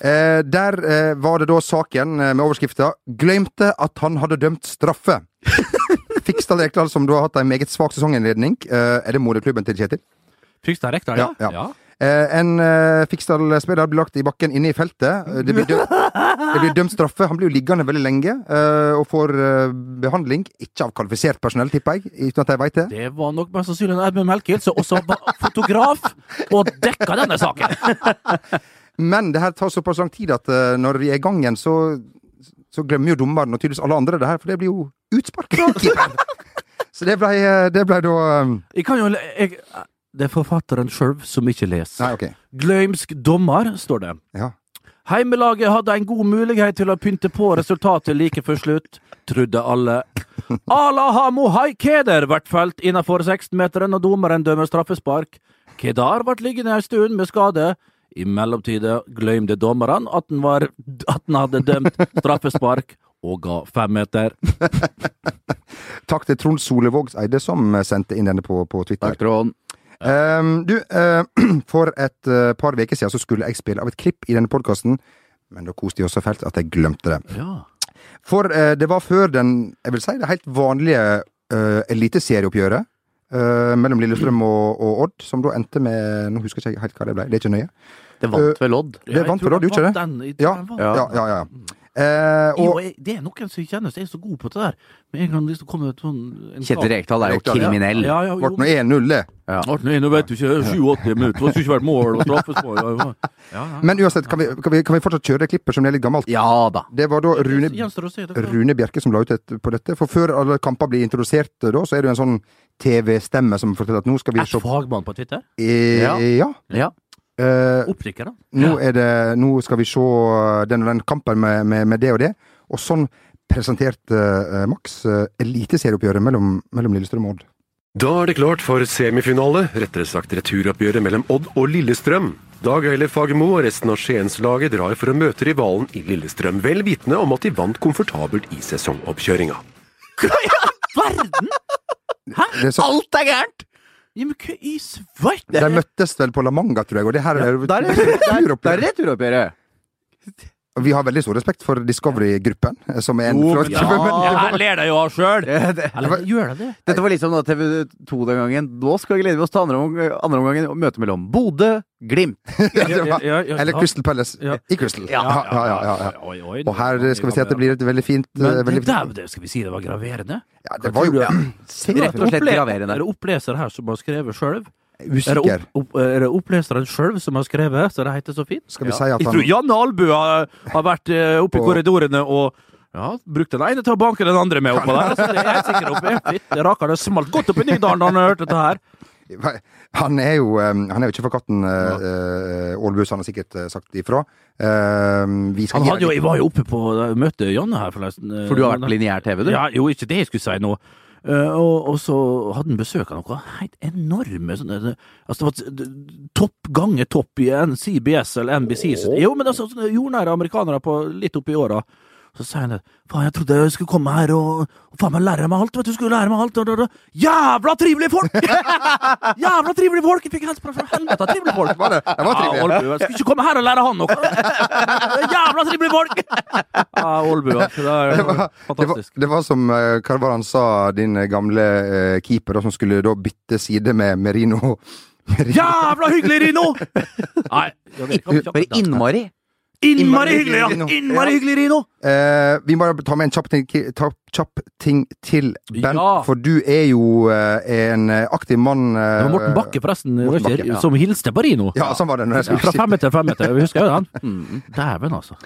[SPEAKER 2] eh, Der eh, var det da saken eh, med overskrifta 'Glemte at han hadde dømt straffe'. Fiksdal Rekdal, som da har hatt en meget svak sesonginnledning. Eh, er det moderklubben til Kjetil?
[SPEAKER 3] Fikk det riktig,
[SPEAKER 2] Ja, ja. Eh, en eh, Fiksdal-spiller blir lagt i bakken inne i feltet. Eh, Det blir, dømt, det blir dømt straffe. Han blir jo liggende veldig lenge eh, og får eh, behandling. Ikke av kvalifisert personell, tipper jeg, uten at jeg veit det.
[SPEAKER 3] Det var nok mest sannsynlig en Edmund Melkild, som også var fotograf og dekka denne saken.
[SPEAKER 2] Men det her tar såpass lang tid at eh, når vi er i gang igjen, så, så glemmer jo dommeren og tydeligvis alle andre det her, for det blir jo utspark fra keeperen. Så det blei det ble da eh,
[SPEAKER 3] Jeg kan jo le- jeg, Det er forfatteren sjøl som ikke leser.
[SPEAKER 2] Nei, ok.
[SPEAKER 3] Gløymsk dommer, står det.
[SPEAKER 2] Ja.
[SPEAKER 3] Heimelaget hadde en god mulighet til å pynte på resultatet like før slutt, trodde alle. Alaha Mohai Keder ble felt innenfor 16-meteren, og dommeren dømmer straffespark. Kedar ble liggende en stund med skade. I mellomtida glemte dommeren at han, var, at han hadde dømt straffespark, og ga fem meter.
[SPEAKER 2] Takk til Trond Solevåg Eide som eh, sendte inn denne på, på Twitter.
[SPEAKER 4] Takk, Trond.
[SPEAKER 2] Ehm, du, eh, for et eh, par uker siden så skulle jeg spille av et klipp i denne podkasten, men da koste jeg oss så fælt at jeg glemte det.
[SPEAKER 3] Ja.
[SPEAKER 2] For eh, det var før den jeg vil si det helt vanlige eh, eliteserieoppgjøret eh, mellom Lillestrøm og, og Odd, som da endte med Nå husker jeg ikke helt hva det ble, det er ikke nøye.
[SPEAKER 4] Det vant
[SPEAKER 2] Eh,
[SPEAKER 4] vel Odd?
[SPEAKER 2] Det
[SPEAKER 3] jeg
[SPEAKER 2] vant
[SPEAKER 3] tror
[SPEAKER 2] vel
[SPEAKER 3] han
[SPEAKER 2] Odd, gjorde ikke
[SPEAKER 3] vant den. Jeg tror
[SPEAKER 2] Ja,
[SPEAKER 3] han vant
[SPEAKER 2] ja,
[SPEAKER 3] den.
[SPEAKER 2] ja. ja, ja. Eh,
[SPEAKER 3] Jo,
[SPEAKER 2] og
[SPEAKER 3] jeg, det er noen som jeg kjenner som er så gode på det der. Men en gang liksom kommer det sånn en
[SPEAKER 4] Kjetil Rekdal er jo
[SPEAKER 2] Rekdal, ja.
[SPEAKER 4] kriminell.
[SPEAKER 3] Ja, ja, jo.
[SPEAKER 2] ble nå 1-0, det.
[SPEAKER 3] Arten, nå vet du ikke, 87 minutter, det skulle ikke vært mål og straffespark. Ja, ja. ja.
[SPEAKER 2] Men uansett, kan vi, kan, vi, kan vi fortsatt kjøre det klippet som er litt gammelt?
[SPEAKER 4] Ja da.
[SPEAKER 2] Det var da Rune
[SPEAKER 3] Gjenstår å se det. for-
[SPEAKER 2] Rune Bjerke som la ut et, på dette. For før alle kamper blir introdusert, eh, da, så er det jo en sånn TV-stemme som forteller at nå skal vi
[SPEAKER 3] Er
[SPEAKER 2] se
[SPEAKER 3] fagmann på Twitter?
[SPEAKER 2] Eh,
[SPEAKER 4] Ja.
[SPEAKER 2] ja.
[SPEAKER 4] Ja.
[SPEAKER 2] Eh,
[SPEAKER 3] Optiker, da?
[SPEAKER 2] nå, er det, nå skal vi se uh, den og den kampen med, med, med det og det. Og sånn presenterte eh, Max eh, eliteserieoppgjøret mellom, mellom Lillestrøm og Odd.
[SPEAKER 7] Da er det klart for semifinale, rettere sagt returoppgjøret mellom Odd og Lillestrøm. Dag Eilif Fagermo og resten av Skienslaget drar for å møte rivalen i Lillestrøm, vel vitende om at de vant komfortabelt i sesongoppkjøringa.
[SPEAKER 3] Verden!
[SPEAKER 2] Det er så,
[SPEAKER 4] Alt er gærent!
[SPEAKER 3] Ja, men hva i svarte
[SPEAKER 2] de møttes vel på La Manga, tror jeg, og det her er jo
[SPEAKER 4] Der er der er
[SPEAKER 2] returoppgjør.
[SPEAKER 4] returoppgjøret.
[SPEAKER 2] Vi har veldig stor respekt for Discovery-gruppen, eh, som er en flott-
[SPEAKER 3] Ja, her ler de jo av sjøl!
[SPEAKER 4] Ja, det-
[SPEAKER 3] Eller gjør de det?
[SPEAKER 4] Dette var liksom da TV2 den gangen. Nå skal vi glede oss til andre, om, andre omgangen og møte mellom Bodø, Glimt.
[SPEAKER 3] Ja, ja, ja,
[SPEAKER 2] Eller
[SPEAKER 3] ja.
[SPEAKER 2] Crystal Palace
[SPEAKER 3] Ja.
[SPEAKER 2] i Crystal.
[SPEAKER 3] Ja,
[SPEAKER 2] Ja, ja, ja, ja, ja.
[SPEAKER 3] Oi, oi,
[SPEAKER 2] Og her eh, skal vi se at det blir et veldig fint eh,
[SPEAKER 3] Men det
[SPEAKER 2] veldig,
[SPEAKER 3] der, det skal vi si det var graverende?
[SPEAKER 2] Ja, det var jo
[SPEAKER 3] Hva tror du?
[SPEAKER 4] Rett og slett
[SPEAKER 3] Opple-
[SPEAKER 4] graverende.
[SPEAKER 3] Er det oppleser her som har skrevet sjøl? Er, det
[SPEAKER 2] usikker.
[SPEAKER 3] opp, opp, er det oppleseren sjøl som har skrevet, så det heter så fint?
[SPEAKER 2] Skal vi si at
[SPEAKER 3] Jeg
[SPEAKER 2] han
[SPEAKER 3] tror Janne Albu har, har vært eh, oppe i
[SPEAKER 2] På-
[SPEAKER 3] korridorene og ja, brukt den ene til å banke den andre med oppå der. Så det er jeg sikker oppe. Fitt, Det raker det smalt godt opp i Nydalen da han hørte dette her.
[SPEAKER 2] Hva- Han er jo, eh, han er jo ikke fra katten eh, eh, Ålbus, han har sikkert eh, sagt ifra. Eh, vi skal
[SPEAKER 3] Han
[SPEAKER 2] gi
[SPEAKER 3] hadde jo,
[SPEAKER 2] han-
[SPEAKER 3] jeg var jo oppe på jeg møtte Janne her forresten. eh,
[SPEAKER 4] For du har vært på lineær TV, du?
[SPEAKER 3] Ja, jo, ikke det jeg skulle si nå. Eh, og, og så hadde han besøk av noe helt enorme sånne, det- altså det var t- Topp ganger topp i en CBS eller NBC. Så, jo, men altså sånne jordnære amerikanere på litt oppi åra. Så sier han det. Faen, jeg trodde jeg skulle komme her og, og faen meg lære meg alt, vet du. Skulle lære meg alt. Og, og, og. Jævla trivelige folk! Jævla trivelige folk! Jeg fikk helsebrann fra helvete. Trivelige folk.
[SPEAKER 2] Var det? Det var
[SPEAKER 3] Ja,
[SPEAKER 2] trivelig.
[SPEAKER 3] Olbu, jeg skulle ikke komme her og lære han noe! Jævla trivelige folk! Ja, Olbu, altså. Det er
[SPEAKER 2] det
[SPEAKER 3] jo
[SPEAKER 2] var, det, var,
[SPEAKER 3] fantastisk.
[SPEAKER 2] det var som eh, hva var det han sa, din eh, gamle eh, keeper, da, som skulle da bytte side med Merino. Merino.
[SPEAKER 3] Jævla hyggelig, Rino! Nei, ja, det kan vi ikke
[SPEAKER 4] Bare
[SPEAKER 3] ha.
[SPEAKER 4] innmari.
[SPEAKER 3] Innmari hyggelig, ja!
[SPEAKER 2] Rino.
[SPEAKER 3] Innmari hyggelig, Rino!
[SPEAKER 2] Eh, vi må ta med en kjapp ting, ta, kjapp ting til, Bent,
[SPEAKER 3] Ja.
[SPEAKER 2] for du er jo eh, en eh, aktiv mann. eh,
[SPEAKER 3] Det var Morten Bakke, forresten,
[SPEAKER 2] Morten
[SPEAKER 3] Røkker,
[SPEAKER 2] Bakke, ja.
[SPEAKER 3] som hilste på Rino.
[SPEAKER 2] Ja, sånn var det. Når jeg
[SPEAKER 3] Fra
[SPEAKER 2] skulle si.
[SPEAKER 3] femmeter til femmeter, vi husker jo den. Dæven, altså.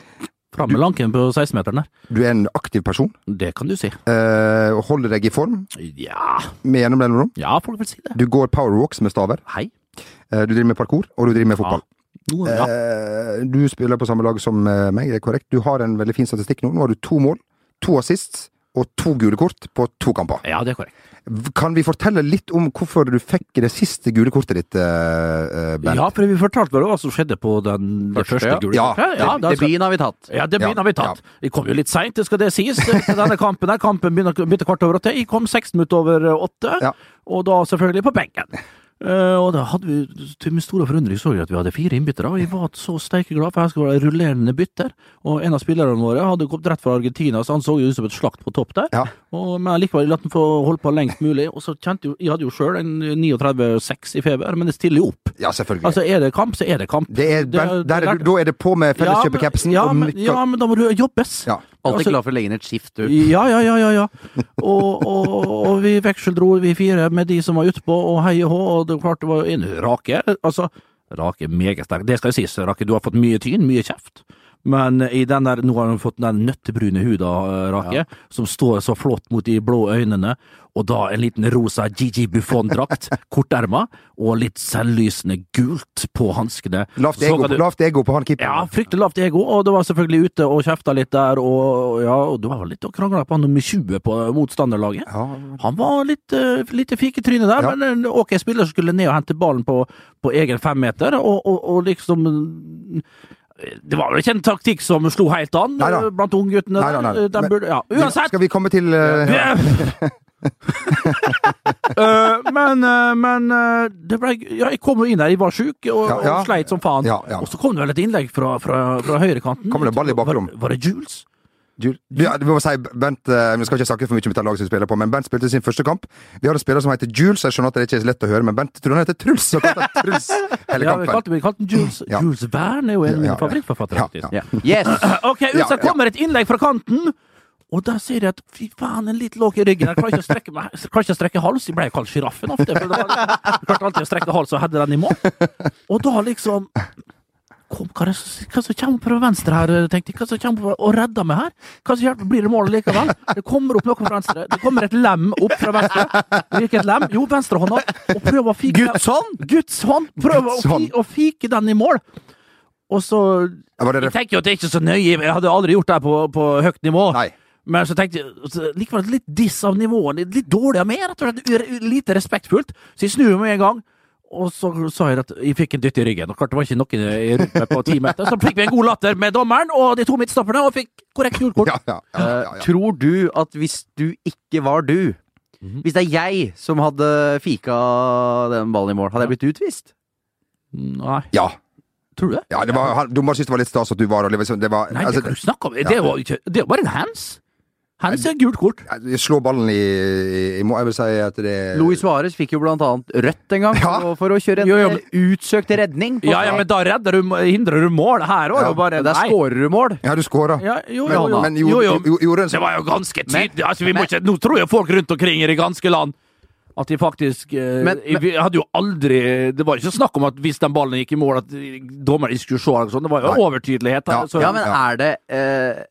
[SPEAKER 3] Fram med lanken på 16-meteren der.
[SPEAKER 2] Du er en aktiv person,
[SPEAKER 3] Det kan du si.
[SPEAKER 2] eh, og holder deg i form
[SPEAKER 3] Ja,
[SPEAKER 2] med gjennom mellomrom.
[SPEAKER 3] ja folk vil si det.
[SPEAKER 2] Du går powerwalks med staver.
[SPEAKER 3] Hei.
[SPEAKER 2] Eh, Du driver med parkour, og du driver med fotball. Eh, du spiller på samme lag som eh, meg, det er korrekt. Du har en veldig fin statistikk nå. Nå har du to mål, to assist og to gule kort på to kamper.
[SPEAKER 4] Ja, det er korrekt.
[SPEAKER 2] V- Kan vi fortelle litt om hvorfor du fikk det siste gule kortet ditt, eh, eh, Bernt?
[SPEAKER 3] Ja, for vi fortalte vel hva som skjedde på den, det
[SPEAKER 4] Første,
[SPEAKER 3] første
[SPEAKER 4] ja.
[SPEAKER 3] gule
[SPEAKER 2] Ja,
[SPEAKER 3] kortet.
[SPEAKER 4] Ja,
[SPEAKER 3] da skal-
[SPEAKER 4] Debuten har vi tatt.
[SPEAKER 3] Ja, det begynner
[SPEAKER 2] Ja,
[SPEAKER 3] vi tatt. Vi kom jo litt seint, det skal det sies. til Denne kampen her, kampen begynner- begynte kvart over åtte. Jeg kom seks minutter over åtte,
[SPEAKER 2] Ja.
[SPEAKER 3] og da selvfølgelig på benken. Eh, og da hadde vi, til min store forundring så jeg at vi hadde fire innbyttere, og jeg var så steike glad, for her skulle være rullerende bytter. Og en av spillerne våre hadde kommet rett fra Argentina, så han så jo ut som et slakt på topp der.
[SPEAKER 2] Ja.
[SPEAKER 3] Og, men likevel la den få holde på lengst mulig. Og så kjente jo, jeg hadde jo sjøl en 39,6 i feber, men det stiller jo opp.
[SPEAKER 2] Ja, selvfølgelig.
[SPEAKER 3] Altså, er det kamp, så er det kamp.
[SPEAKER 2] det er, Bernt, der er du, da er det på med felleskjøpercapsen.
[SPEAKER 3] Ja,
[SPEAKER 2] og
[SPEAKER 3] men,
[SPEAKER 2] nikker-
[SPEAKER 3] ja, men da må du jobbes.
[SPEAKER 2] Ja.
[SPEAKER 4] Alltid
[SPEAKER 3] Altså-
[SPEAKER 4] glad for å legge inn et skift, du.
[SPEAKER 3] Ja, ja, ja, ja, ja. Og, og, og vi vekseldro, vi fire, med de som var utpå, og hei og hå, og det er klart det var en Rake, altså Rake er meget sterk. Det skal jo sies, Rake, du har fått mye tyn, mye kjeft. Men i den der, nå har han fått den nøttebrune huda, eh, Rake, som står så flott mot de blå øynene, og da en liten rosa Gigi Buffon-drakt, korterma, og litt selvlysende gult på hanskene.
[SPEAKER 2] Lavt
[SPEAKER 3] Så
[SPEAKER 2] ego,
[SPEAKER 3] kan du-
[SPEAKER 2] lavt ego på han
[SPEAKER 3] ja,
[SPEAKER 2] keeperen.
[SPEAKER 3] fryktelig lavt ego, og det var selvfølgelig ute og kjefta litt der, og ja, og du var vel litt og krangla på han nummer 20 på motstanderlaget. Han var litt, uh, litt fik i trynet der,
[SPEAKER 2] Ja.
[SPEAKER 3] men en ok spiller som skulle ned og hente ballen på, på egen femmeter, og, og, og liksom eh, Det var vel ikke en taktikk som slo helt an
[SPEAKER 2] Nei da.
[SPEAKER 3] eh, blant ungguttene.
[SPEAKER 2] Nei da, nei da.
[SPEAKER 3] Eh, de
[SPEAKER 2] Men-
[SPEAKER 3] burde- Ja,
[SPEAKER 2] Vi-
[SPEAKER 3] uansett!
[SPEAKER 2] Skal vi komme til eh,
[SPEAKER 3] Eh, men eh, men eh, det ble, ja, jeg kom jo inn der, jeg var sjuk og,
[SPEAKER 2] Ja, ja.
[SPEAKER 3] og sleit som faen.
[SPEAKER 2] Ja, ja.
[SPEAKER 3] Og så kom det vel et innlegg fra, fra, fra høyrekanten.
[SPEAKER 2] Kom det ball i bakrom?
[SPEAKER 3] Var, var det Jules?
[SPEAKER 2] Jul- Ja, vi må si, Bent, eh, Vi skal ikke snakke for mye om dette laget som vi spiller på, men Bent spilte sin første kamp. Vi har en spiller som heter Jules. Jeg skjønner at det ikke er så lett å høre, men Bent tror han heter Truls. Så kalte han Truls hele
[SPEAKER 3] Ja, vi
[SPEAKER 2] kampen.
[SPEAKER 3] kalte, vi kalte den Jules,
[SPEAKER 2] Ja.
[SPEAKER 3] Jules Verne, er jo en
[SPEAKER 2] Ja, ja, ja.
[SPEAKER 3] favorittforfatter,
[SPEAKER 2] Ja,
[SPEAKER 3] faktisk.
[SPEAKER 2] ja.
[SPEAKER 4] Yes!
[SPEAKER 3] Ok, ut,
[SPEAKER 2] Ja,
[SPEAKER 3] så kommer et innlegg fra kanten, og der ser jeg at fy faen, en litt låg i ryggen. Jeg klarer ikke å strekke, meg, jeg klarer ikke å strekke hals. Jeg ble jo kalt sjiraffen ofte. For det var, jeg klarte alltid å strekke hals og hadde den i mål. Og da liksom Kom, hva er det som hva som kommer fra venstre her, tenkte jeg. Hva som kommer fra, og redder meg her? Hva som hjelper, blir det mål likevel? Det kommer opp noe fra venstre. Det kommer et lem opp fra venstre. Hvilket lem? Jo, venstrehånda. Og prøver å fike
[SPEAKER 4] Guds hånd?
[SPEAKER 3] Guds hånd! Prøver
[SPEAKER 2] Guds
[SPEAKER 3] å, fi,
[SPEAKER 2] hånd.
[SPEAKER 3] å fike den i mål. Og så
[SPEAKER 2] Ja, var det
[SPEAKER 3] Jeg tenker jo at det er ikke så nøye, jeg hadde aldri gjort det her på, på høyt nivå.
[SPEAKER 2] Nei.
[SPEAKER 3] Men så tenkte jeg så likevel litt diss av nivået, litt- litt dårlig av meg, rett og slett. u- Lite respektfullt. Så jeg snur meg en gang, og så sa jeg at jeg fikk en dytt i ryggen. Og klart det var ikke noen i rundt meg på ti meter, så fikk vi en god latter med dommeren og de to midtstopperne, og fikk korrekt gult kort.
[SPEAKER 2] Ja, ja, ja, ja, ja.
[SPEAKER 4] Tror du at hvis du ikke var du Hvis det er jeg som hadde fika den ballen i mål, hadde jeg blitt utvist?
[SPEAKER 3] Nei,
[SPEAKER 2] ja.
[SPEAKER 3] tror du det?
[SPEAKER 2] ja det var, han, Dommeren syntes det var litt stas at du var og liksom, det var,
[SPEAKER 3] Nei, det kan du
[SPEAKER 2] altså,
[SPEAKER 3] snakke om. Det var jo ikke Det var bare en hands. Hands er gult kort.
[SPEAKER 2] Slå ballen i, i, i må- Jeg vil si at det
[SPEAKER 4] Luis Suárez fikk jo blant annet rødt en gang
[SPEAKER 2] Eh. Ja.
[SPEAKER 4] for, å- for å kjøre en
[SPEAKER 3] Jo, jo, men-
[SPEAKER 4] utsøkt redning. på-
[SPEAKER 3] Ja, ja, men da redder du, hindrer du mål her òg.
[SPEAKER 2] Ja,
[SPEAKER 3] bare
[SPEAKER 4] Der
[SPEAKER 3] nei.
[SPEAKER 4] skårer du mål.
[SPEAKER 2] Ja, du skåra.
[SPEAKER 3] Ja, jo,
[SPEAKER 2] Men,
[SPEAKER 3] jo, jo.
[SPEAKER 2] men gjorde-
[SPEAKER 3] jo, jo.
[SPEAKER 2] jo- gjorde en sånn-
[SPEAKER 3] Det var jo ganske tydelig. Altså, vi må
[SPEAKER 4] men-
[SPEAKER 3] ikke, nå tror jeg folk rundt omkring i det ganske land at de faktisk eh,
[SPEAKER 4] Men- men-
[SPEAKER 3] Vi hadde jo aldri Det var ikke snakk om at hvis den ballen gikk i mål, at eh, dommeren ikke skulle se eller sånn. Det var jo
[SPEAKER 2] Nei.
[SPEAKER 3] overtydelighet.
[SPEAKER 2] Ja,
[SPEAKER 3] så-
[SPEAKER 4] Ja, men er det eh,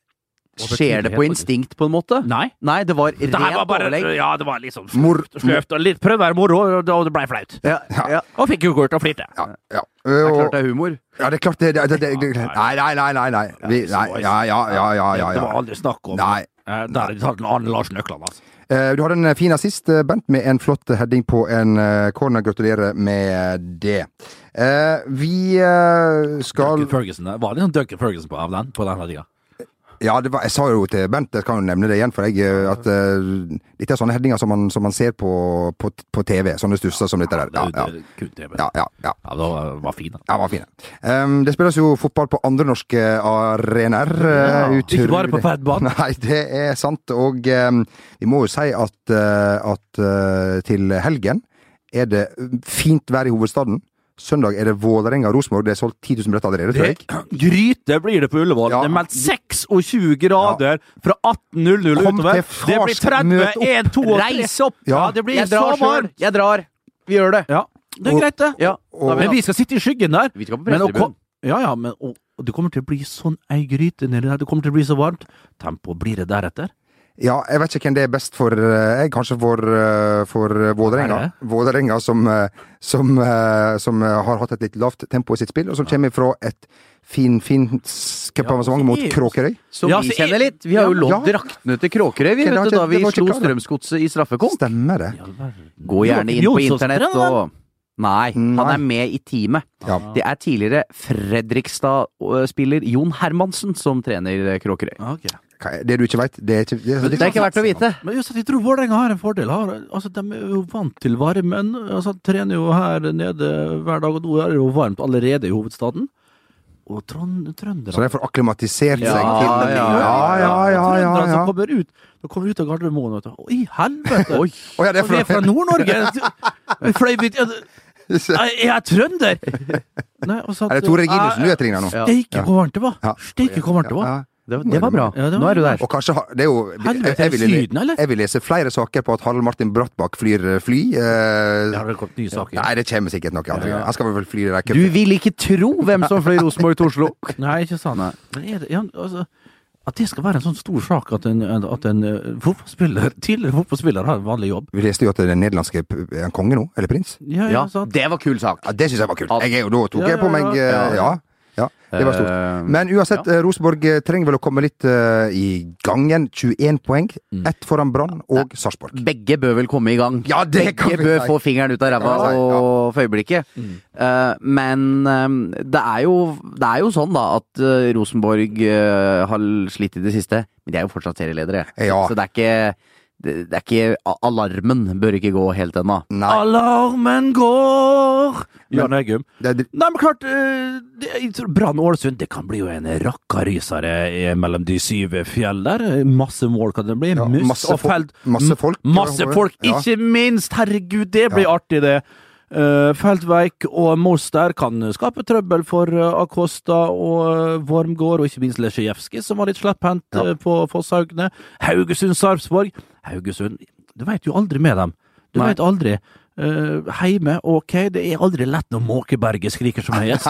[SPEAKER 4] Skjer det på instinkt, på en måte?
[SPEAKER 3] Nei.
[SPEAKER 4] Nei, det var
[SPEAKER 3] Det her var
[SPEAKER 4] rent
[SPEAKER 3] bare
[SPEAKER 4] overlegg.
[SPEAKER 3] Ja, det var liksom
[SPEAKER 2] Mor-
[SPEAKER 3] sløvt og litt Prøv å være moro, og da- og det ble flaut.
[SPEAKER 4] Ja, ja.
[SPEAKER 3] Og fikk jo kort og flirte.
[SPEAKER 2] Ja, ja.
[SPEAKER 4] Det
[SPEAKER 2] Og,
[SPEAKER 4] er klart det er humor.
[SPEAKER 2] ja, det er klart det, det, det, det, det Nei, nei, nei. nei, nei. Vi, nei ja, ja, ja, ja, ja,
[SPEAKER 3] Det var
[SPEAKER 2] ja.
[SPEAKER 3] aldri snakk om
[SPEAKER 2] Nei.
[SPEAKER 3] Eh, Der er det tatt en annen Lars Nøkland, altså.
[SPEAKER 2] Eh, Du hadde en fin assist, eh, Bent, med en flott heading på en eh, corner. Gratulerer med det. Eh, Vi eh, skal
[SPEAKER 3] Duncan Ferguson, det var litt sånn Duncan Ferguson på, av den, på denne tida.
[SPEAKER 2] Ja, det var, jeg sa jo til Bent, jeg kan jo nevne det igjen, for jeg eh, at eh, Dette er sånne headinger som man, som man ser på, på, på TV. Sånne stusser som dette der. Ja,
[SPEAKER 3] Det-
[SPEAKER 2] ja,
[SPEAKER 3] det kunne jeg, men-
[SPEAKER 2] ja, ja, ja.
[SPEAKER 3] Ja, det var, var fin, da.
[SPEAKER 2] Ja, var fine. Ehm, det spilles jo fotball på andre norske arenaer. eh, utrolig-
[SPEAKER 3] Ikke bare på padbanen.
[SPEAKER 2] Nei, det er sant. Og ehm, vi må jo si at, eh, at eh, til helgen er det fint vær i hovedstaden. Søndag er det Vålerenga-Rosenborg. Det er solgt 10 000 billetter allerede, tror jeg.
[SPEAKER 3] Gryte blir det på Ullevål.
[SPEAKER 2] Ja.
[SPEAKER 3] Det er meldt 26 grader fra 18.00
[SPEAKER 2] Kom
[SPEAKER 3] utover.
[SPEAKER 2] til fars
[SPEAKER 3] Det blir 30,
[SPEAKER 2] møte opp.
[SPEAKER 3] 1, 2 og 3.
[SPEAKER 4] Reis opp!
[SPEAKER 3] Ja, det blir
[SPEAKER 4] Jeg
[SPEAKER 3] så
[SPEAKER 4] drar sjøl!
[SPEAKER 3] varmt!
[SPEAKER 4] Jeg drar! Vi gjør det.
[SPEAKER 3] Ja, det er
[SPEAKER 2] Og-
[SPEAKER 3] greit, det.
[SPEAKER 4] Ja.
[SPEAKER 2] og-
[SPEAKER 3] Men vi skal sitte i skyggen der.
[SPEAKER 4] Vi skal på
[SPEAKER 3] Men å
[SPEAKER 4] pressetribunen.
[SPEAKER 3] kom- Ja, ja, men og, og det kommer til å bli sånn ei gryte nedi der. Det kommer til å bli så varmt. Tempoet blir det deretter.
[SPEAKER 2] Ja, jeg vet ikke hvem det er best for. eh, Jeg kanskje for, eh, for Vålerenga. Vålerenga som, eh, som, eh, som eh, har hatt et litt lavt tempo i sitt spill, og som kommer fra et finfint cupavansement mot
[SPEAKER 3] så-
[SPEAKER 2] Kråkerøy.
[SPEAKER 4] Som
[SPEAKER 3] Ja,
[SPEAKER 4] vi
[SPEAKER 3] så jeg-
[SPEAKER 4] kjenner litt. Vi har jo
[SPEAKER 2] Ja.
[SPEAKER 4] lånt draktene til Kråkerøy vi,
[SPEAKER 2] Det var
[SPEAKER 4] vet du,
[SPEAKER 2] ikke-
[SPEAKER 4] da vi
[SPEAKER 2] det var ikke
[SPEAKER 4] slo
[SPEAKER 2] klart, da.
[SPEAKER 4] Strømsgodset i straffekonk.
[SPEAKER 2] Stemmer det.
[SPEAKER 4] Gå gjerne inn på
[SPEAKER 3] Jonsson spiller
[SPEAKER 4] internett
[SPEAKER 3] han, da?
[SPEAKER 4] og Nei, han
[SPEAKER 2] Nei.
[SPEAKER 4] er med i teamet.
[SPEAKER 2] Ja.
[SPEAKER 4] Det er tidligere Fredrikstad-spiller Jon Hermansen som trener Kråkerøy.
[SPEAKER 3] Ah, ok.
[SPEAKER 2] Hva er- Det du ikke veit, det er ikke Det
[SPEAKER 4] Det er ikke verdt å vite.
[SPEAKER 3] Men just at jeg tror Vålerenga har en fordel. Har, altså, de er jo vant til varmen. Altså, de trener jo her nede hver dag, og nå er det jo varmt allerede i hovedstaden. Og trond, trøndere
[SPEAKER 2] Så de får akklimatisert seg
[SPEAKER 4] Ja,
[SPEAKER 2] til det.
[SPEAKER 4] ja,
[SPEAKER 2] ja, ja, ja, ja,
[SPEAKER 3] Trøndere
[SPEAKER 2] ja.
[SPEAKER 3] som altså kommer ut, de kommer ut av Gardermoen vet du. Å, i helvete!
[SPEAKER 4] Oi.
[SPEAKER 2] Å, ja, det er
[SPEAKER 3] Og vi er fra
[SPEAKER 2] fra-
[SPEAKER 3] Nord-Norge! Vi fløy ut ja, det- Jeg jeg er trønder! Nei, og så at-
[SPEAKER 2] Er det Tore Reginussen du etterligner nå?
[SPEAKER 4] Ja.
[SPEAKER 3] Steike hvor varmt det var!
[SPEAKER 2] Ja.
[SPEAKER 3] Steike hvor varmt det var!
[SPEAKER 2] Ja.
[SPEAKER 4] Det, det var bra.
[SPEAKER 3] Ja, det var-
[SPEAKER 4] Nå er du der.
[SPEAKER 2] Og kanskje ha- det er jo
[SPEAKER 3] Helvete,
[SPEAKER 2] jeg,
[SPEAKER 3] er det
[SPEAKER 2] ville-
[SPEAKER 3] Syden, eller?
[SPEAKER 2] jeg vil lese flere saker på at Harald Martin Brattbakk flyr eh, fly. eh,
[SPEAKER 3] Det har det kommet nye saker.
[SPEAKER 2] Nei, det kommer sikkert noe annet. Han skal vel fly i det
[SPEAKER 4] Du vil ikke tro hvem som fløy Rosenborg til Oslo!
[SPEAKER 3] Nei, ikke sant. Men er det, ja, altså, at det skal være en sånn stor sak at en, at en eh, fotballspiller, tidligere fotballspiller har en vanlig jobb.
[SPEAKER 2] Vi leste jo at den nederlandske p- er han konge nå, eller prins.
[SPEAKER 3] Ja, ja,
[SPEAKER 4] Ja,
[SPEAKER 3] sant.
[SPEAKER 4] det var kul sak.
[SPEAKER 2] Ja, det syns jeg var kult.
[SPEAKER 4] Ja.
[SPEAKER 2] Jeg er jo, da tok
[SPEAKER 3] Ja,
[SPEAKER 2] jeg på
[SPEAKER 3] ja,
[SPEAKER 2] meg eh,
[SPEAKER 4] ja.
[SPEAKER 2] ja. ja, det var stort.
[SPEAKER 4] Eh,
[SPEAKER 2] Men uansett, eh, Rosenborg eh, trenger vel å komme litt eh, i gang igjen. 21 poeng.
[SPEAKER 4] Mm.
[SPEAKER 2] Ett foran Brann og Sarpsborg.
[SPEAKER 4] Begge bør vel komme i gang.
[SPEAKER 2] Ja, det kan
[SPEAKER 4] Begge
[SPEAKER 2] vi
[SPEAKER 4] bør
[SPEAKER 2] si.
[SPEAKER 4] få fingeren ut av ræva
[SPEAKER 2] Ja, ja. Mm.
[SPEAKER 4] og for øyeblikket. Eh, men eh, det, er jo, det er jo sånn, da, at eh, Rosenborg eh, har slitt i det siste. Men de er jo fortsatt serieledere.
[SPEAKER 2] Ja.
[SPEAKER 4] Så det er ikke det, det er ikke a- Alarmen bør ikke gå helt ennå.
[SPEAKER 2] Nei,
[SPEAKER 3] Ah, Alarmen går! Jan Eggum.
[SPEAKER 2] det er,
[SPEAKER 3] Nei, men klart, eh, det- jeg tror Brann Ålesund det kan bli jo en rakkarysere i- mellom de syv fjell der. Masse mål kan det bli.
[SPEAKER 2] Ja,
[SPEAKER 3] Mus
[SPEAKER 2] masse
[SPEAKER 3] og
[SPEAKER 2] folk-
[SPEAKER 3] felt.
[SPEAKER 2] masse folk.
[SPEAKER 3] Masse folk,
[SPEAKER 2] Ja.
[SPEAKER 3] ikke minst! Herregud, det blir artig, det. Eh, Feltveik og Moster kan skape trøbbel for eh, Acosta og eh, Wormgård, og ikke minst Lesjejevskij, som var litt slepphendt eh, på Fosshaugene. Haugesund-Sarpsborg. Haugesund Du veit jo aldri med dem. Du
[SPEAKER 4] Nei.
[SPEAKER 3] veit aldri. Eh, heime, ok, det er aldri lett når Måkeberget skriker som høyest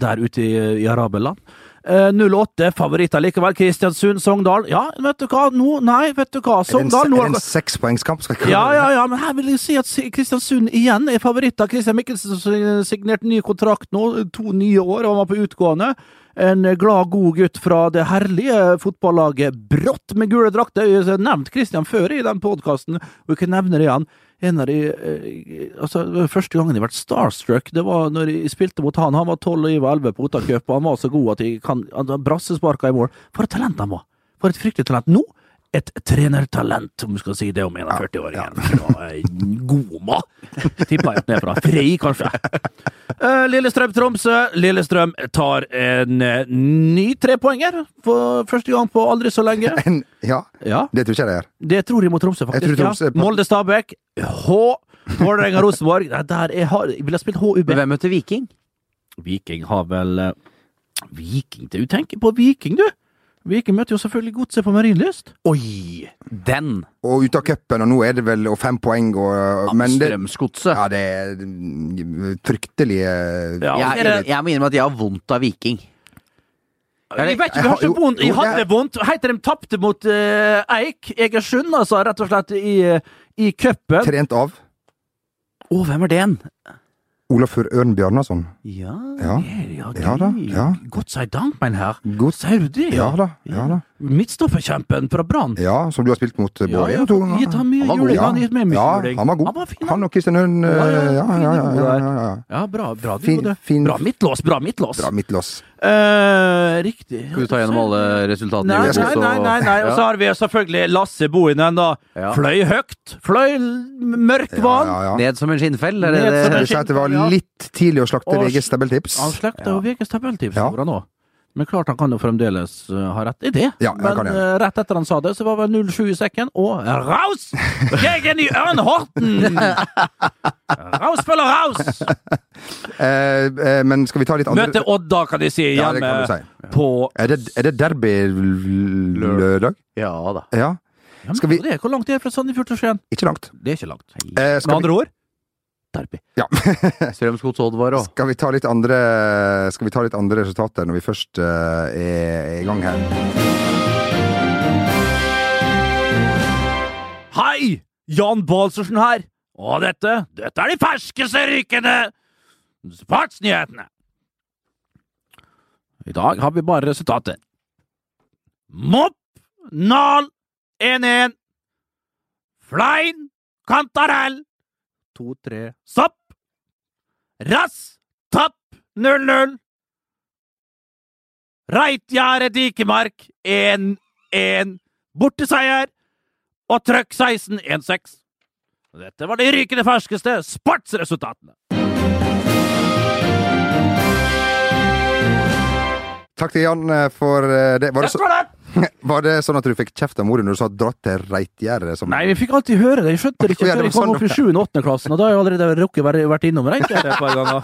[SPEAKER 3] der ute i, i Araberland. Eh, 08, favoritter likevel. Kristiansund, Sogndal. Ja, vet du hva, nå Nei, vet du hva.
[SPEAKER 2] er det en, se-
[SPEAKER 3] Sogndal nå
[SPEAKER 2] er det en sekspoengskamp? Skal jeg-
[SPEAKER 3] ja, ja, ja, men her vil jeg si at Si- Kristiansund igjen er favoritt av Christian Mikkelsen, som sign- signerte ny kontrakt nå, to nye år, og han var på utgående. En glad, god gutt fra det herlige fotballaget Brått med gule drakter. Jeg har nevnt Christian før i den podkasten, og jeg kan nevne det igjen. En av de, eh, altså, det var første gangen jeg har vært starstruck, det var når jeg spilte mot han. Han var 12 og jeg var 11 på Otacup, og han var så god at jeg kan han hadde brassesparka i mål. For et talent han var! For et fryktelig talent. Nå et trenertalent, om du skal si det om 41-åringen. Ja. Goma, tippa jeg ned fra. Frei, kanskje. Eh, Lillestrøm-Tromsø. Lillestrøm tar en eh, ny trepoenger for første gang på aldri så lenge.
[SPEAKER 2] En, ja,
[SPEAKER 3] Ja,
[SPEAKER 2] det tror ikke jeg det er.
[SPEAKER 3] det tror jeg mot Tromsø,
[SPEAKER 2] Jeg
[SPEAKER 3] faktisk.
[SPEAKER 2] tror Tromsø
[SPEAKER 3] ja.
[SPEAKER 2] er på-
[SPEAKER 3] Molde-Stabæk. H. Vålerenga-Rosenborg. Nei, Der er, har, jeg ville ha spilt HUB.
[SPEAKER 4] Men hvem møter Viking?
[SPEAKER 3] Viking har vel eh, Viking Du tenker på Viking, du! Viking møter jo selvfølgelig Godset på Marienlyst.
[SPEAKER 4] Oi! Den!
[SPEAKER 2] Og ute av cupen, og nå er det vel og fem poeng og men det,
[SPEAKER 4] Strømsgodset.
[SPEAKER 2] ja, det er mm, fryktelig eh,
[SPEAKER 3] Ja,
[SPEAKER 4] Jeg,
[SPEAKER 3] er det-
[SPEAKER 4] jeg må innrømme at jeg har vondt av Viking.
[SPEAKER 3] Jeg vet ikke, vi har
[SPEAKER 2] Jo,
[SPEAKER 3] så vondt. Jeg
[SPEAKER 2] jo, det
[SPEAKER 3] hadde
[SPEAKER 2] er-
[SPEAKER 3] vondt. Helt til de tapte mot eh, Eik Egersund, altså, rett og slett, i, eh, i cupen.
[SPEAKER 2] trent av
[SPEAKER 4] Å, hvem er den?
[SPEAKER 2] Olafur Ørn Bjarnason.
[SPEAKER 4] Ja,
[SPEAKER 2] Ja.
[SPEAKER 3] Ja,
[SPEAKER 2] Ja da,
[SPEAKER 3] gud.
[SPEAKER 2] ja.
[SPEAKER 3] Godt sei dank, mein herr.
[SPEAKER 2] Godt.
[SPEAKER 3] Ser du det?
[SPEAKER 2] Ja da, ja da.
[SPEAKER 3] Midtstopperkjempen fra Brann.
[SPEAKER 2] Ja, som du har spilt mot eh,
[SPEAKER 3] Ja,
[SPEAKER 2] både
[SPEAKER 3] ja,
[SPEAKER 2] én og to
[SPEAKER 3] for- gitt han mye
[SPEAKER 2] var god.
[SPEAKER 3] juling, han gitt meg mye
[SPEAKER 2] ja,
[SPEAKER 3] juling.
[SPEAKER 2] Han var god.
[SPEAKER 3] Han var fin, han.
[SPEAKER 2] han og Kristian Hund eh,
[SPEAKER 3] Ja,
[SPEAKER 2] Ja,
[SPEAKER 3] ja,
[SPEAKER 2] ja,
[SPEAKER 3] fin
[SPEAKER 2] ja.
[SPEAKER 3] god
[SPEAKER 2] ja,
[SPEAKER 3] der.
[SPEAKER 2] ja, ja.
[SPEAKER 3] Ja, bra, bra, du,
[SPEAKER 2] Fin-
[SPEAKER 3] du.
[SPEAKER 2] fin-
[SPEAKER 3] bra midtlås, bra midtlås.
[SPEAKER 2] Bra midtlås.
[SPEAKER 3] Eh, riktig.
[SPEAKER 4] Skal du ta gjennom alle resultatene?
[SPEAKER 3] Nei,
[SPEAKER 4] Jonas,
[SPEAKER 3] nei,
[SPEAKER 4] og-
[SPEAKER 3] nei, nei, nei. Og så har vi selvfølgelig Lasse Bohinen, da.
[SPEAKER 4] Ja.
[SPEAKER 3] Fløy høyt, fløy l- mørk
[SPEAKER 2] Ja,
[SPEAKER 3] vann.
[SPEAKER 2] ja, ja.
[SPEAKER 4] Ned som en skinnfell? Er
[SPEAKER 3] Ned
[SPEAKER 4] det,
[SPEAKER 3] som
[SPEAKER 2] Jeg
[SPEAKER 4] det,
[SPEAKER 2] vil si at det var litt tidlig å slakte
[SPEAKER 3] Og-
[SPEAKER 2] VGs stabeltips.
[SPEAKER 3] Han slekta jo VGs tabelltips,
[SPEAKER 2] Ja.
[SPEAKER 3] gjorde han òg. Men klart han kan jo fremdeles eh, ha rett i det.
[SPEAKER 2] Ja, han
[SPEAKER 3] Men
[SPEAKER 2] kan det.
[SPEAKER 3] eh, rett etter han sa det, så var vel 07 i sekken, og raus! Gegen i Ørn Horten! Raus følger raus!
[SPEAKER 2] Eh, eh, men skal vi ta litt andre
[SPEAKER 3] Møte eh, Odda, kan de si,
[SPEAKER 2] Ja, det
[SPEAKER 3] hjemme
[SPEAKER 2] kan du si.
[SPEAKER 3] på
[SPEAKER 2] Er det, er det derby l- lørdag?
[SPEAKER 4] ja da.
[SPEAKER 2] Ja.
[SPEAKER 3] ja, men
[SPEAKER 2] Skal vi-
[SPEAKER 3] det er Hvor langt er det fra Sandefjord til Skien?
[SPEAKER 2] Ikke langt.
[SPEAKER 3] Det er ikke langt.
[SPEAKER 2] Eh,
[SPEAKER 3] Med
[SPEAKER 2] skal, vi,
[SPEAKER 3] andre ord derby.
[SPEAKER 4] Strømsgods Oddvar òg.
[SPEAKER 2] skal, vi ta litt andre, skal vi ta litt andre resultater når vi først eh, er er i gang her?
[SPEAKER 3] Jan Balsersen her! Og dette, dette er de ferskeste rykende sportsnyhetene! I dag har vi bare resultater. Mopp, Nal, 1-1. Flein, Kantarell, 2-3. Sopp, Rass, Tapp, 0-0. Reitgjerde, Dikemark, 1-1. Borteseier. Og Trøkk 16, 1-6. Dette var de rykende ferskeste sportsresultatene.
[SPEAKER 2] Takk til Jan eh, for eh, det. Var det,
[SPEAKER 3] Der
[SPEAKER 2] så,
[SPEAKER 3] står det!
[SPEAKER 2] var det sånn at du fikk kjeft av mora når du sa 'dratt til Reitgjerdet'? som-
[SPEAKER 3] Nei, vi fikk alltid høre det. Jeg skjønte det ikke
[SPEAKER 2] Å, ja, det
[SPEAKER 3] før jeg
[SPEAKER 2] var
[SPEAKER 3] kom
[SPEAKER 2] sånn,
[SPEAKER 3] opp i 7. og 8. klassen, og da har jeg allerede rukket å være, vært innom Reitgjerdet et par ganger.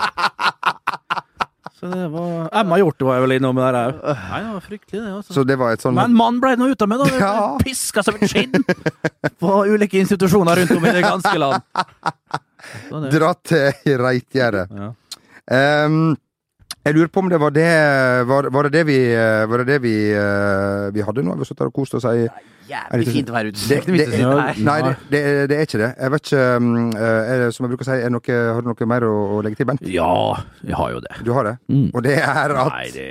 [SPEAKER 3] Så det var Emma Hjorte var jeg vel innom der òg. Nei, det var fryktelig, det. altså.
[SPEAKER 2] Så det var et sånn
[SPEAKER 3] Men mann ble nå ute med, da.
[SPEAKER 2] Ja.
[SPEAKER 3] Piska som et skinn på ulike institusjoner rundt om i det ganske land. Så det-
[SPEAKER 2] Dra til Reitgjerdet.
[SPEAKER 3] Ja.
[SPEAKER 2] Ehm, jeg lurer på om det var det Var, var det det vi, eh, var det det vi, eh, vi hadde nå? Har vi sittet her og kost oss ei Er det
[SPEAKER 4] Jævlig
[SPEAKER 2] ikke-
[SPEAKER 4] fint å være
[SPEAKER 2] det,
[SPEAKER 4] utesøkt.
[SPEAKER 2] det,
[SPEAKER 4] Det, det,
[SPEAKER 3] Nei.
[SPEAKER 2] Nei, det, det, det er ikke det. Jeg vet ikke um, eh, er det- Som jeg bruker å si, er det noe, har du noe mer å, å legge til, Bent?
[SPEAKER 3] ja, jeg har jo det.
[SPEAKER 2] Du har det?
[SPEAKER 3] Mm.
[SPEAKER 2] Og det er at
[SPEAKER 3] Nei, det,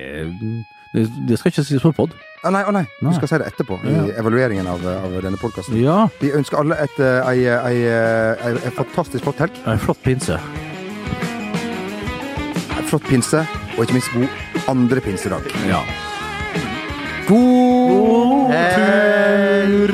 [SPEAKER 3] det, det skal ikke sies på pod.
[SPEAKER 2] Å nei, å nei, du
[SPEAKER 3] Nei.
[SPEAKER 2] skal si det etterpå, i
[SPEAKER 3] Ja.
[SPEAKER 2] evalueringen av, av denne podkasten.
[SPEAKER 3] Ja,
[SPEAKER 2] Vi ønsker alle et, eh, ei, ei, eh, ei, ei fantastisk flott helg,
[SPEAKER 3] en flott pinse.
[SPEAKER 2] ei flott pinse, og ikke minst god andre pinsedag.
[SPEAKER 3] Ja.
[SPEAKER 2] God tur!